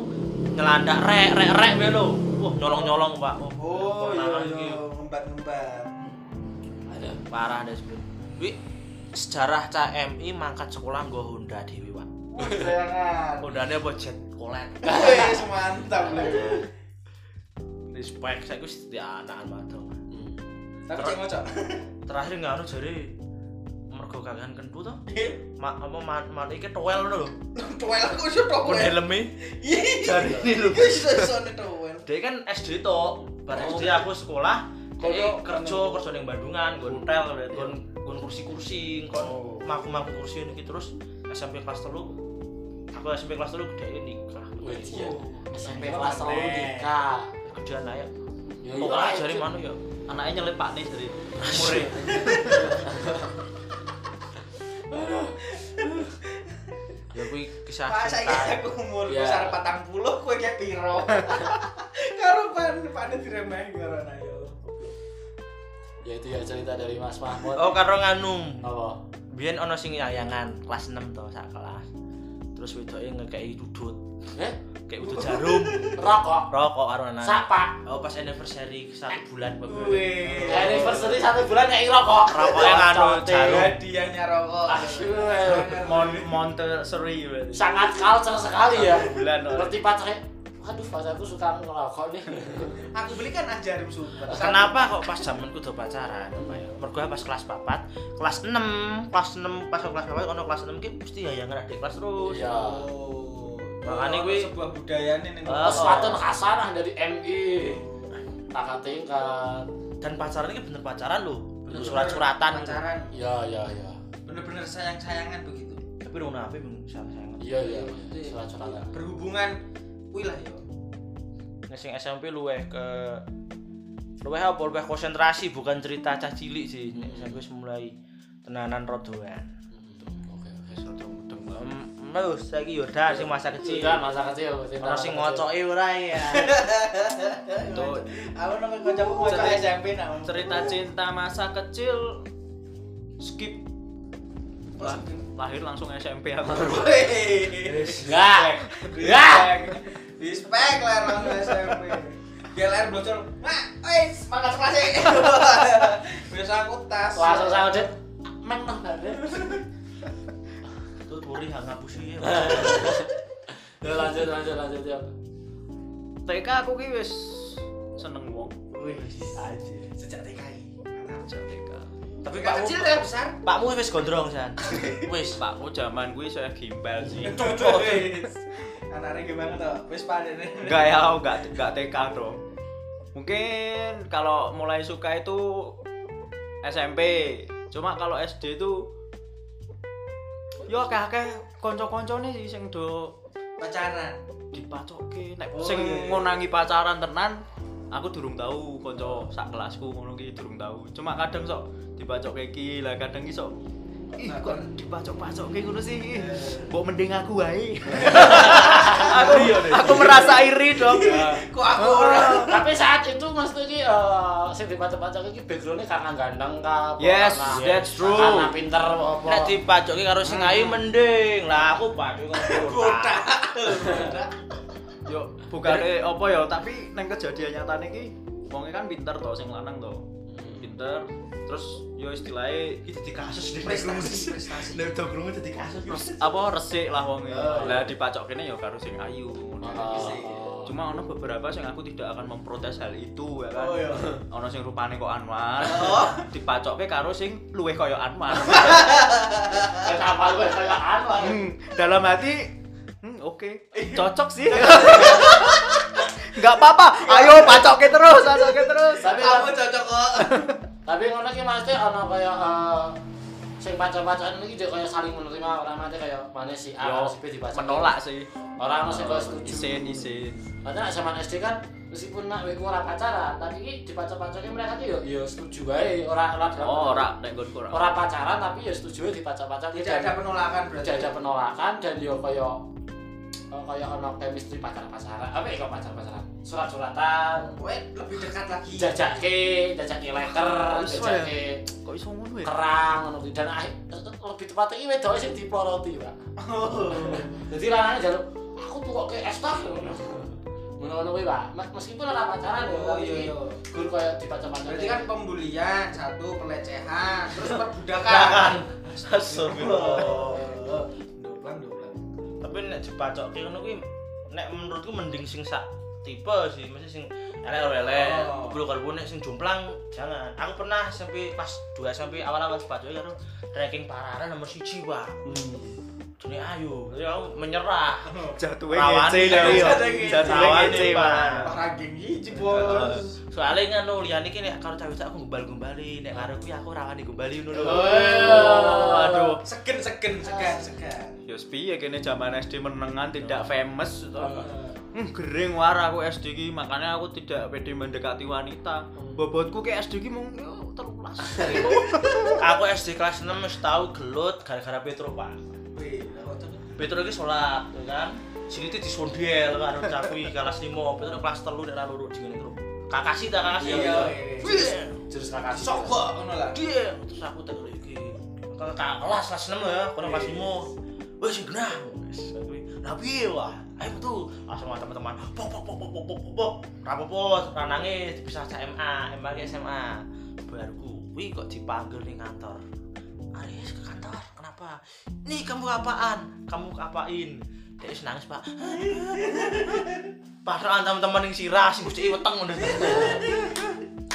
nyelandak rek rek rek kowe lho. Wah, nyolong-nyolong, Pak.
Oh, iya
Pertama
iya,
iki.
[LAUGHS] ngembat-ngembat.
Ada.
Parah deh sebut. Wi, sejarah CMI mangkat sekolah nggo Honda dhewe, Pak.
Wah, Sayangan.
Hondane apa jet kolet.
Wes mantap lho.
respect saya wis di anak madong
Tapi cek ngocok.
terakhir nggak harus jadi mergo kagan kentu tuh ma apa ma ma iki toel ngono lho
Towel aku iso
kon
towel.
helme
Iya. [LAUGHS]
jari ini lho
Iso iso towel.
dia kan SD to bar SD aku sekolah
Koyo-
Oh, iya. koyo kerja kerja ning Bandungan nggon hotel ya. nggon nggon kursi-kursi
Oh.
nggon maku-maku kursi ini terus SMP kelas 3 aku SMP kelas 3 gede nikah
Wih, iya. SMP
Iya,
kelas
Andre.
3 nikah.
gede anak ya
Ya
pokoknya jari mana ya
anaknya nyelip pak nih dari
umure [LAUGHS] ya kuwi kisah
Pak
cinta
saya aku umur
Iya.
besar 40 kowe kayak piro? Karo pan pan diremehin karo ayo.
Ya itu ya cerita dari Mas Mahmud.
oh karo nganu
Apa?
biyen ana sing yayangan kelas 6 to sak kelas terus wedoke ngekeki udut
Eh,
kayak udut jarum
rokok.
rokok karo anak
Sapa.
oh pas anniversary satu bulan
Iya.
Kuwe.
Ya, Anniversary satu bulan ya rokok.
Rokoknya nganu, jarum.
Hadiahnya rokok.
Asyik.
Montessori berarti
Sangat culture sekali ya.
bulan orang
Berarti pacarnya Aduh, pacarku suka ngerokok nih.
Aku belikan ah jarum super.
Kenapa kok pas zamanku do pacaran? Apa ya? Mergo pas kelas 4, kelas 6, kelas 6 pas aku kelas 4 ono kelas 6 ki mesti yayangan adik kelas terus.
Iya.
Oh. Oh,
Makanya kuwi-
sebuah budayane ning
Ah.
Terus patun khasanah dari MI. Kakak tingkat.
Dan pacaran iki bener pacaran lho.
Bener-bener
Surat-suratan.
pacaran.
Ya, ya, ya.
Bener-bener sayang-sayangan begitu.
Tapi dong nape mung sayang
Iya, iya. iya. Surat suratan.
Berhubungan kuwi lah yo.
Nek sing SMP luweh ke luweh apa luweh konsentrasi bukan cerita cah cilik sih. Nek SMP wis mulai tenanan rodoan.
Hmm.
Oke, oke.
Wis rodo mudeng. Mbah saiki yo dah sing masa kecil.
Cinta masa kecil. cinta
Ono
masa
sing
kecil.
ngocoki ora ya. [LAUGHS] Tuh.
Aku nang kancaku mau
Cerita-
SMP nang
cerita cinta masa kecil skip Lah, lahir langsung SMP aku
Wih.
Enggak.
Ya. Respect lah orang SMP. GLR bocor. Mak, wis mangkat sekelas e. Wis aku tas.
Langsung sama Dit. Meng nang bareng.
Tuh turi hang ngapusi ya.
Ya, lanjut, lanjut, lanjut. ya.
TK aku ki wis seneng wong
Wis aja.
Sejak TKI.
Sejak TK
Tapi
Tapi
Pak
kecil ya besar.
Pakmu wis gondrong san. Wis.
pakku zaman gue saya gimbal sih
Wis. Anaknya gimana toh? Wis panen.
Enggak ya, aku enggak enggak TK dong. Mungkin kalau mulai suka itu SMP. Cuma kalau SD itu yo akeh-akeh kanca-kancane sih sing do
Pacaran.
dipacokke. Nek
Oh,
sing
iya.
ngonangi pacaran tenan, aku durung tahu kanca sak kelasku ngono ki durung tahu. Cuma kadang sok dipacokke iki, lah kadang ki sok Ih,
Nah,
kok dipacok-pacokke ngono sih?
Iya,
Mbok mending aku wae. [LAUGHS] aku,
Iya,
aku merasa iri dong.
Kok aku ora?
Tapi saat itu Mas Tuki eh sing dibaca-baca iki background-e karena gandeng kah? apa
Yes,
karena-
that's true.
Karena
Nah,
pinter apa apa.
Nek dipacoki karo sing ayu mending. Lah aku pacoki karo botak.
Yo, bukane apa ya, tapi neng kejadian nyatane iki wonge kan pinter to sing lanang to.
Hmm.
Pinter, terus yo istilahnya
Iki dadi kasus deh.
Prestasi, prestasi.
Nek do krungu dadi kasus.
Oh, iya.
apa resik lah wonge. Lah dipacok kene yo karo sing ayu.
Oh,
Sih.
oh.
Cuma ono beberapa yang aku tidak akan memprotes hal itu ya kan.
Oh, iya.
Ono sing rupane kok Anwar, dipacoke karo sing luweh kaya Anwar.
Kayak kapal gue kayak anwar.
Hmm, dalam hati hmm, oke, cocok sih. Enggak apa-apa. Ayo pacoke terus, pacoke terus.
Tapi
Aku cocok kok.
tapi ngono ki mesti ana kaya eh, sing pacar-pacaran iki juga kaya saling menerima ora mate kaya mana si A
Yo
karo si B dipacak.
menolak sih. Ah,
Ora ono sing kaya setuju.
Isin, isin.
Padahal nek zaman SD kan meskipun nak kowe ora pacaran, tapi iki dipacak-pacake mereka ki yo yo setuju wae ora ora dalam-
Oh, ora nek nggonku ora.
ora pacaran tapi ya setuju wae dipacak-pacak.
[LAUGHS] Tidak ada penolakan berarti.
tidak ada penolakan dan ya yo kaya eh, kaya ana chemistry pacar-pacaran. Apa ya kok pacar-pacaran? Surat-suratan,
Kowe lebih dekat lagi.
jajake, jajake leker,
Oh, iso ya?
jajake
Kok iso ngono ya?
kerang ngono kuwi dan akhir- lebih tepatnya iki wedoke sing diploroti, Pak.
Oh.
Dadi lanane jaluk aku tukokke es tas ngono. Ngono-ngono kuwi, Pak. Mes- Meskipun ora pacaran ya,
Oh
tapi
iya iya.
gur koyo dipacar-pacar.
Berarti kan pembulian satu pelecehan terus perbudakan.
Ah. Astagfirullah.
Doplan doplan.
Tapi nek dipacokke ngono kuwi nek menurutku mending sing sak tipe sih, mesti sing elek-elek.
Oh.
Kumpul karo nek sing jomplang jangan. Aku pernah sampai pas 2 sampai awal-awal dipacoki karo ranking parara nomor 1 wah.
gitu.
Jadi ayo, jadi aku menyerah.
Jatuhe
Lawan
ngece
iya,
lho.
jatuhe
ngece.
Jatuhe
Lawan
ngece,
iya,
Pak.
Pak.
Orang geng hiji bos.
Soalnya ngono kan, liyane iki nek karo cewek aku gombal-gombali, nek karo kuwi aku ora wani gombali ngono lho.
Oh.
Hmm. Aduh.
Segen segen segan segan.
Ya piye kene zaman SD menengan tidak famous to.
Eh,
Hmm, gering war aku SD ki, makanya aku tidak pede mendekati wanita. Bobotku ke SD ki mung yo 13.
Aku SD kelas 6 wis tau gelut gara-gara Petro, Pak.
wih, lewat tuh.
Petro iki sholat, ya kan? Sini itu disondel karo cakui kelas 5, Petro kelas 3 nek ra loro jenenge Petro. Kakasi ta kakasi.
Iya,
ya.
iya.
Wih,
jurus kakak.
Sogok ngono lah.
Dia ya. terus aku tak kali iki. Kakak kakak kelas kelas 6 ya, kono kelas 5. Wis sing genah. Wis aku iki, "Lah piye wah? Ayo metu. Langsung sama teman-teman. Pok pok pok pok pok pok pok, pok. Ra apa-apa, ra nangis dipisah cak MA, MA ke SMA. Baruku kuwi kok dipanggil ning kantor. Aris ke kantor, kenapa? Nih kamu apaan? Kamu apain? Dia wis nangis, Pak. Padahal teman-teman yang sirah sing mesti weteng ngono.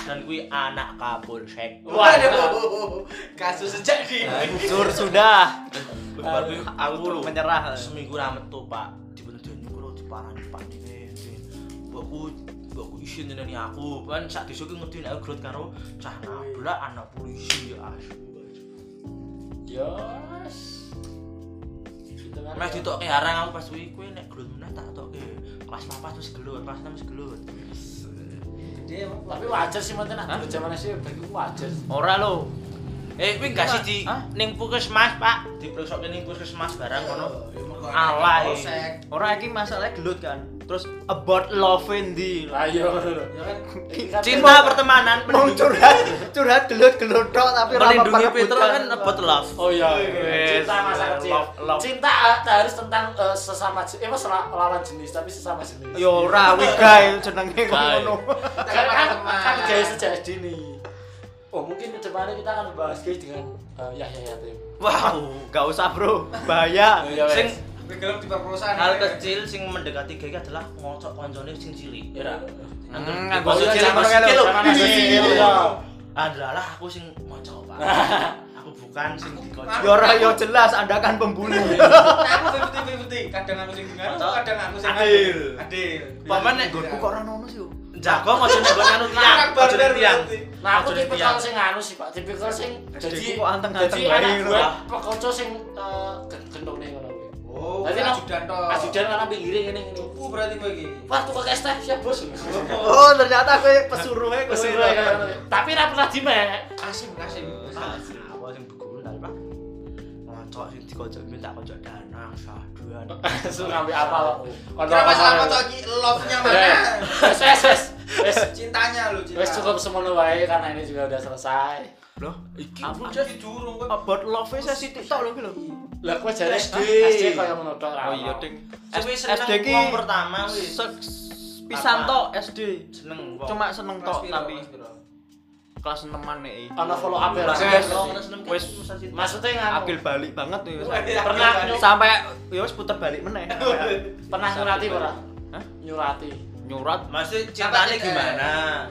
Dan kuwi anak Kapolsek.
Waduh, [LAUGHS] kasus sejak di.
Hancur sudah.
Wis bar kuwi aku
Aku
lho
menyerah.
seminggu ra metu, Pak. Dibentenyu kulo diparani Pak dene. Mbokku mbokku isin nyeneni aku. Kan sak desa ki ngerti nek aku grot karo cah nabrak anak polisi ya. asu, asu.
Yo. Gitu kan.
Mas ditokke harang aku pas kuwi kuwi nek grot meneh tak tokke. Kelas 4 wis gelut, kelas 6 wis gelut.
Gede emang.
Tapi wajar sih mantan aku zaman SD bagi ku wajar.
Ora lho.
Eh, kuwi gak sih di
Hah?
ning puskesmas, Pak. Diperiksokke ning puskesmas barang kono.
Ya, mergo
Alay.
anak polsek.
Ora iki masalahnya gelut kan. Terus about love in the
Ayo.
Ya kan.
Cinta pertemanan
Mau curhat, curhat gelut gelut tok tapi ora
melindungi
perebutan.
Peter kan about love.
Oh iya,
Yes.
cinta masa kecil.
Love, love.
Cinta eh, harus tentang eh, sesama jenis, eh masalah lawan jenis tapi sesama jenis.
Ya ora wigai jenenge kok
Guy.
ngono.
kan kan
Teman.
kan guys sejak dini. Oh mungkin kedepannya kita akan membahas guys dengan eh, Yahya Yatim.
Wow, gak usah, Bro.
Oh,
Bahaya.
iya, wes.
Sing
Gue gelap diperkosa, nih.
hal kecil sing mendekati gay adalah ngocok koncone sing cilik, ya ra? Angger
Hmm,
dikocok
aku
iya,
cilik
zaman
masih
kayak
kilo.
lo,
zaman masih
Ih.
kilo, ya.
Adalah aku sing ngocok, Pak. Aku bukan sing dikocok.
Ya ora ya jelas Anda kan pembuli.
aku fifty fifty kadang aku sing dengar
Atau
kadang aku sing
adil.
adil
Paman nek
Nggonku kok ora ono sih. yo.
jago ngocok nek nganu tiang,
Anak
ngocok
barbar
tiang.
berarti.
Nah aku
Ngocok
tipe
tiang.
kalau sing anu sih pak, tipe kalau sing
SD
jadi
ku kok anteng-anteng
jadi
bae
anak
gitu,
gue
Pak.
pekoco sing eh, gen- gendong nih kalau gue.
oh
Berarti no,
ajudan to
Ajudan kan ambil giring ini ini.
aku berarti gue iki
Wah tuh kakek staff siap bos.
Oh, ternyata aku pesuruh kan. ae kowe.
Pesuruh ya, tapi ra pernah dimek.
asim asim
Apa Ah, sing begundal, Pak? Ngocok sing dikocok minta kocok danang saduan.
Suruh ngambil apa lo?
kira masalah apa tuh Ki? love-nya mana
Ya, Wes wes wes. Wes
cintanya lu cinta
wes cukup semono wae karena ini juga udah selesai.
Loh, iki
aku jadi durung gue
about love e saya sithik tok lho iki lho.
Lah kowe jare
SD.
Eh, SD kaya ngono tok ra.
Oh iya, Ding.
Suwi seneng
SD ki
wong pertama wis
se- pisan
Apa?
tok SD.
seneng wong.
Cuma seneng tok tapi
tapi
kelas e. 6-an nek.
Ana follow up ya. Ra?
wis
Wes. Wes.
Maksudnya nganu.
Akil balik banget ya. wes.
Pernah
[LAUGHS] Sampai ya wis puter balik meneh.
pernah ngurati ora?
Hah?
nyurati
Nyurat.
Maksudnya cintanya
Dapat, eh.
gimana?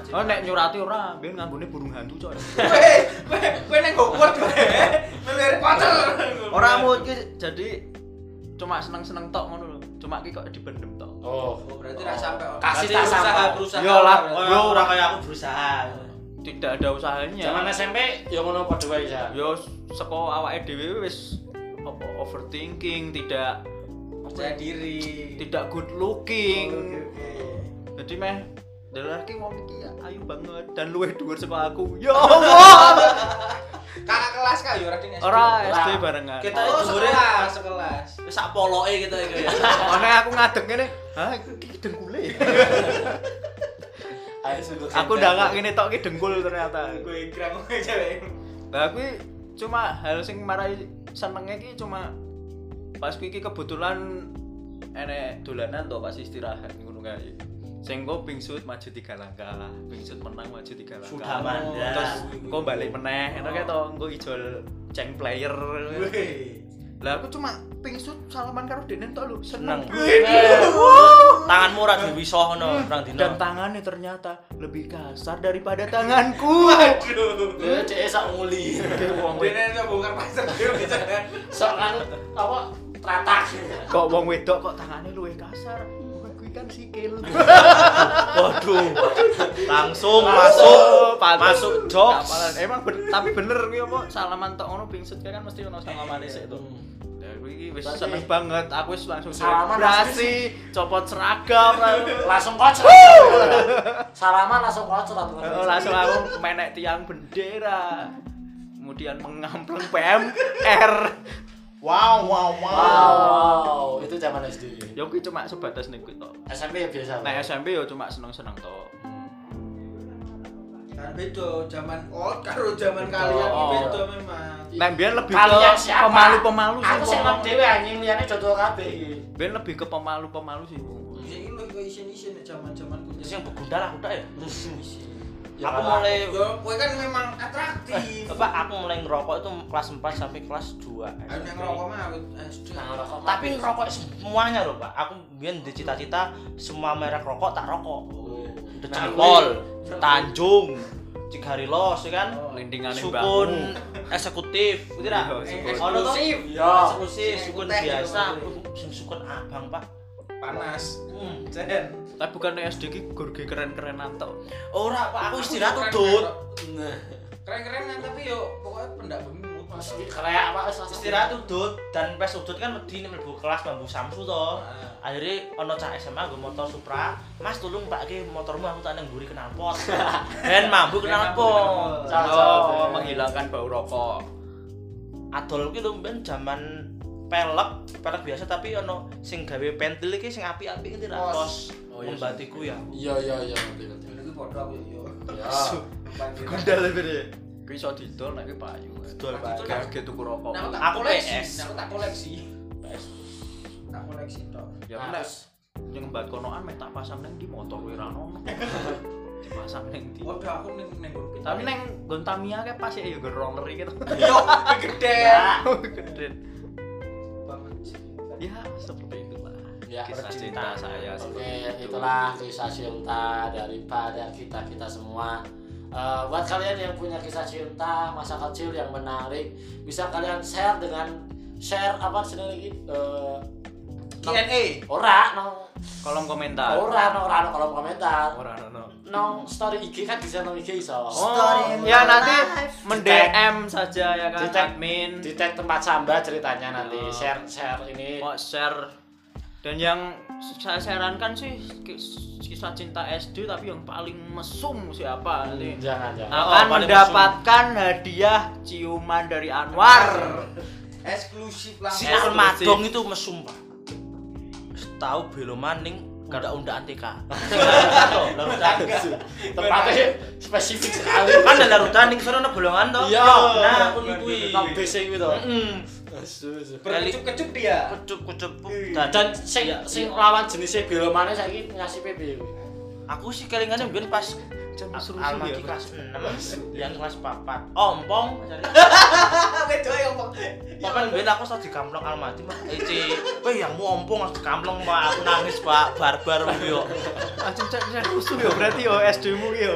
Oh nek nyurati ora, ben ngambune burung hantu coy.
Weh, weh, weh neng Hogwarts weh. Melu Harry Potter.
Ora mau iki jadi cuma seneng-seneng tok ngono lho. Cuma iki kok dibendem tok.
oh
Oh, berarti ra sampe.
Kasih tak
Berarti usaha
sampai.
berusaha.
Yo lah,
berarti.
iya.
yo ora
kayak aku Oh, berusaha.
tidak ada usahanya.
zaman SMP ya ngono padha wae ya
yo saka awake dhewe wis apa, overthinking, tidak
Percaya diri.
tidak good looking. Jadi meh dari laki wong iki ya, ayu banget dan luwih dhuwur saka [LAUGHS] aku. Ya Allah.
Kakak kelas kah yo ora ding
Ora
Ora.
SD barengan.
Kita
Kita
oh,
itu dhuwure
sekelas, sekelas.
sak poloke gitu ya. [LAUGHS]
Ono aku ngadeg ngene. Hah, iki dengkule. ya?"
ayo sundut
aku udah nggak gini tok ki dengkul ternyata.
Gue kram gue cewek.
Lah kuwi cuma hal sing marai senenge ki cuma pas kuwi ki kebetulan enek dolanan to pas istirahat ngono kae. Sing go pingsut maju tiga langkah, pingsut menang maju tiga langkah.
Sudah
Oh,
mandang.
Terus kok balik meneh, ngono kae to, engko ijol ceng player. Lah aku cuma pingsut salaman karo denen tok lho, seneng.
Seneng.
Eh,
Wih,
Tanganmu ora diwisoh ngono, perang dino.
Dan tangannya ternyata lebih kasar daripada tanganku.
ya cek sak nguli
Kayak wong
Dia
wedok-
nanti bongkar pasar dia bicara.
sok kan apa tratah
Kok wong wedok kok tangannya luwih kasar. Kuwi kan
[LAUGHS]
sikil.
Waduh. Langsung masuk
pantes.
masuk jokes.
Kapalan. Emang ben- tapi bener kuwi apa salaman tok ngono pingsut kayak kan mesti ono salaman sik to. Ya kuwi iki wis
Tapi-
seneng banget. Aku wis langsung
Salaman
selebrasi, copot seragam. [LAUGHS]
langsung kocrat salaman langsung kocrat
Langsung langsung aku menek tiang bendera. Kemudian mengampleng PMR.
Wow wow
wow wow itu zaman SD
Ya kuwi cuma sebatas ning kuwi tok.
SMP ya biasa
Nek SMP ya cuma seneng-seneng tok.
Kan beda zaman old karo zaman kalian
Oh.
oh, beda memang.
Nek biyen lebih
kalian
ke
siapa
pemalu-pemalu sih.
aku sing ngomong dhewe anjing liyane jodoh kabeh iki
Biyen lebih ke pemalu-pemalu sih.
Bisa ini kok isin-isin nek zaman-zaman kuliah.
Terus yang begundal aku tak ya.
Ya,
aku
malah.
mulai Eh,
Yo, kowe kan memang atraktif.
apa aku mulai ngerokok itu kelas 4 sampai kelas 2.
Ayo nang rokok mah aku eh, SD.
Nang rokok
Tapi ngerokok semuanya loh, Pak. Aku biyen di cita-cita semua merek rokok tak rokok. Decapol, Tanjung, Cigarilos ya
Oh.
kan.
Lindingane
Sukun eksekutif, gitu lah.
Iya,
Ono
sukun.
toh?
Eksklusif.
Iya.
Eksklusif,
Sing
sukun
ekuteh
biasa.
gitu.
Sing sukun abang, Pak.
Panas.
Hmm.
Jen.
Tapi bukan SD ki gorge keren-kerenan tok.
Ora, Pak, aku istirahat tuh,
keren,
Dut.
Nah,
Keren-keren kan tapi yo pokoknya pendak bemimu.
Mas, ini kreak pak wis langsung.
Istirahat tuh, Dut. Dan pes udut kan wedi nih mlebu kelas mambu Samsu toh.
Ah.
Akhirnya ono cah SMA gue motor Supra, Mas tolong Pak ki motormu aku tak nang mburi [LAUGHS] knalpot. Ben mambu knalpot.
Cah,
Oh,
cah.
menghilangkan bau rokok.
Adol ki lho ben jaman pelek, pelek biasa tapi ono sing gawe pentil iki sing apik-apik iki ra kos.
Oh, iya,
Membatiku ya.
iya iya iya ngerti ngerti
Iki padha aku yo.
ya
Panggilan.
Gundal bere. Kuwi iso didol nek kuwi payu.
Didol,
Pak.
Kaget tuku rokok.
Nah, aku tak
Aku
koleksi,
PS.
nah, aku tak koleksi. Tak koleksi tok.
Ya nek yang mbat konoan meh tak pasang neng di motor kuwi ra [LAUGHS] ono. Dipasang neng di.
Waduh aku ning ning ning-
Tapi neng Gontamia kayak pas ya gue roller gitu.
yo gede.
[LAUGHS] Gede. Ya seperti itulah.
Ya,
kisah
percintaan.
cinta saya
Oke,
seperti itu.
itulah kisah cinta daripada kita-kita semua. Eh, buat kalian yang punya kisah cinta masa kecil yang menarik, bisa kalian share dengan share apa sendiri lagi? Eh,
Q&A.
ora nong
Kolom komentar.
ora nong ora nong kolom komentar.
Ora ono.
Nong story IG kan bisa nong IG iso.
Oh, ya nanti mendm saja ya kan
Di tag.
admin.
Di tag tempat samba ceritanya nanti
Oh.
share share ini.
Mau share dan yang saya sarankan sih kis- kisah cinta SD tapi yang paling mesum siapa nanti
Jangan jangan.
akan
paling
mendapatkan hadiah ciuman dari Anwar.
Eksklusif
Nah, Si
langsung.
Eksklusif.
Almadong itu mesum, Pak. Tahu beloman ning kada undaan TK.
Tempatnya spesifik
[LAUGHS]
sekali.
Kan ada larutan ning sono ana bolongan to.
Iya.
Nah, kuwi kuwi.
Nang BC gitu.
Heeh.
Asu, asu.
Berkecup-kecup dia.
Kucup-kucup.
dan sing
Iya,
Oh.
sing lawan jenisnya belomane saiki ngasih PB
aku sih kelingane mbiyen pas
jam rusuh
Alma
ya
ki kelas
Mas?
6, yang kelas 4. Ompong.
Wedo ya ompong.
Papan ben aku tadi digamplong Eh, Almati mah. Eci, kowe yang mau ya ompong harus digamplong, Pak. Aku nangis, Pak. Barbar kuwi yo.
Ah, cek cek rusuh ya berarti yo SD mu ya. ki yo.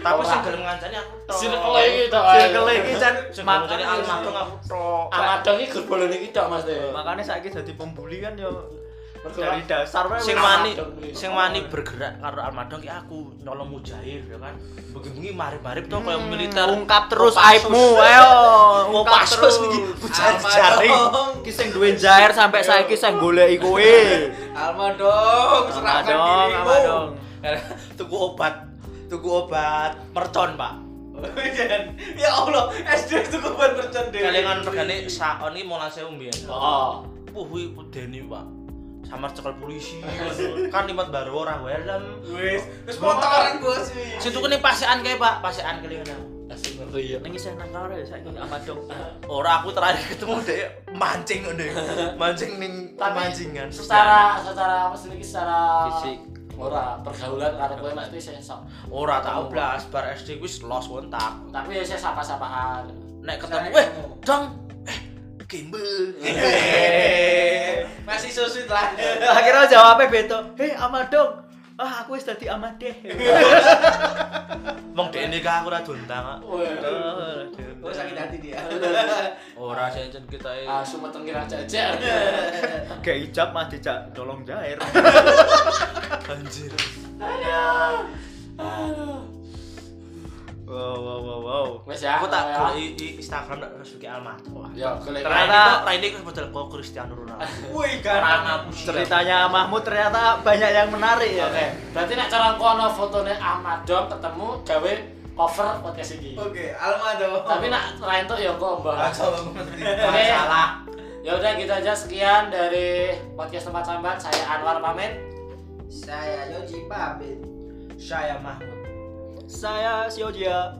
Tapi sing gelem ngancani aku tok.
Circle iki tok.
Circle iki jan
Sing gelem ngancani
makane
Almadong aku tok.
Amadong iki gerbolone iki tok Mas. Teh.
Makane saiki dadi pembuli kan yo
Mergo
Oh, dari dasar wae
Sing
wis.
wani,
Almadong kuwi.
sing wani bergerak karo Almadong ki aku nyolong mujair ya kan. Bengi-bengi marip-marip tok koyo militer.
ungkap terus
Kopassus.
[LAUGHS] aibmu ayo ungkap
Kopassus
terus
iki,
jari-jari ki sing duwe jair sampai saiki sing goleki kowe
Almondong,
Sama
serahkan
dong
dirimu.
sama [LAUGHS] dong
[LAUGHS] tuku obat tuku obat mercon pak
Jangan. Ya Allah, SD itu kuban mercon deh.
kalengan regane sakon iki mulang sewu mbiyen
Heeh.
puh kuwi deni pak samar cekel polisi kan limat baru orang helm
Wis, wis motoran bos. wis.
situ kene pasean kae pak pasean kelingan
Asik ngeri ya.
ning isih nang karo ya saiki sama dong
ora aku terakhir ketemu dek mancing ngono ya. mancing ning
Tapi
pemancingan
Secara secara apa sih iki secara
Fisik.
Ora pergaulan karo kowe Mas wis esok.
ora tau blas bar SD wis los kontak
Tapi ya saya sapa-sapaan.
nek ketemu
Misalnya
weh
ketemu.
dong eh [LAUGHS] gimbal
Masih so sweet lah.
[LAUGHS] akhirnya jawabnya beto hei sama dong ah aku wis dadi [LAUGHS] amadeh
mong dek nikah aku ora dontang Pak.
Waduh.
Oh sakit hati dia.
ora sencen kita eh.
Ah, sumeteng kira jajar.
[LAUGHS]
gak ijab mah dijak tolong jair
anjir
Aduh. Aduh.
[LAUGHS] wow wow wow wow
Wes ya.
aku tak
ya.
golek i- i- Instagram tak Rasuki Almato.
Ya, golek.
Ternyata Raine kan model kok Cristiano Ronaldo.
[LAUGHS] Wih,
Orang aku sih.
ceritanya Mahmud ternyata banyak yang menarik ya
Oke. Berarti nek cara engko ana fotone Amadong ketemu gawe cover podcast iki.
Oke, Almondong.
Tapi nek lain tuh ya engko mbah. Oke.
Masalah.
Ya udah gitu aja sekian dari podcast tempat sambat. Saya Anwar pamit.
saya Yoji pamit.
Saya Mahmud.
saya Siojia
Ah,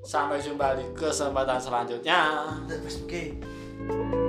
Sampai jumpa di kesempatan selanjutnya.
Wes oke.
Bye.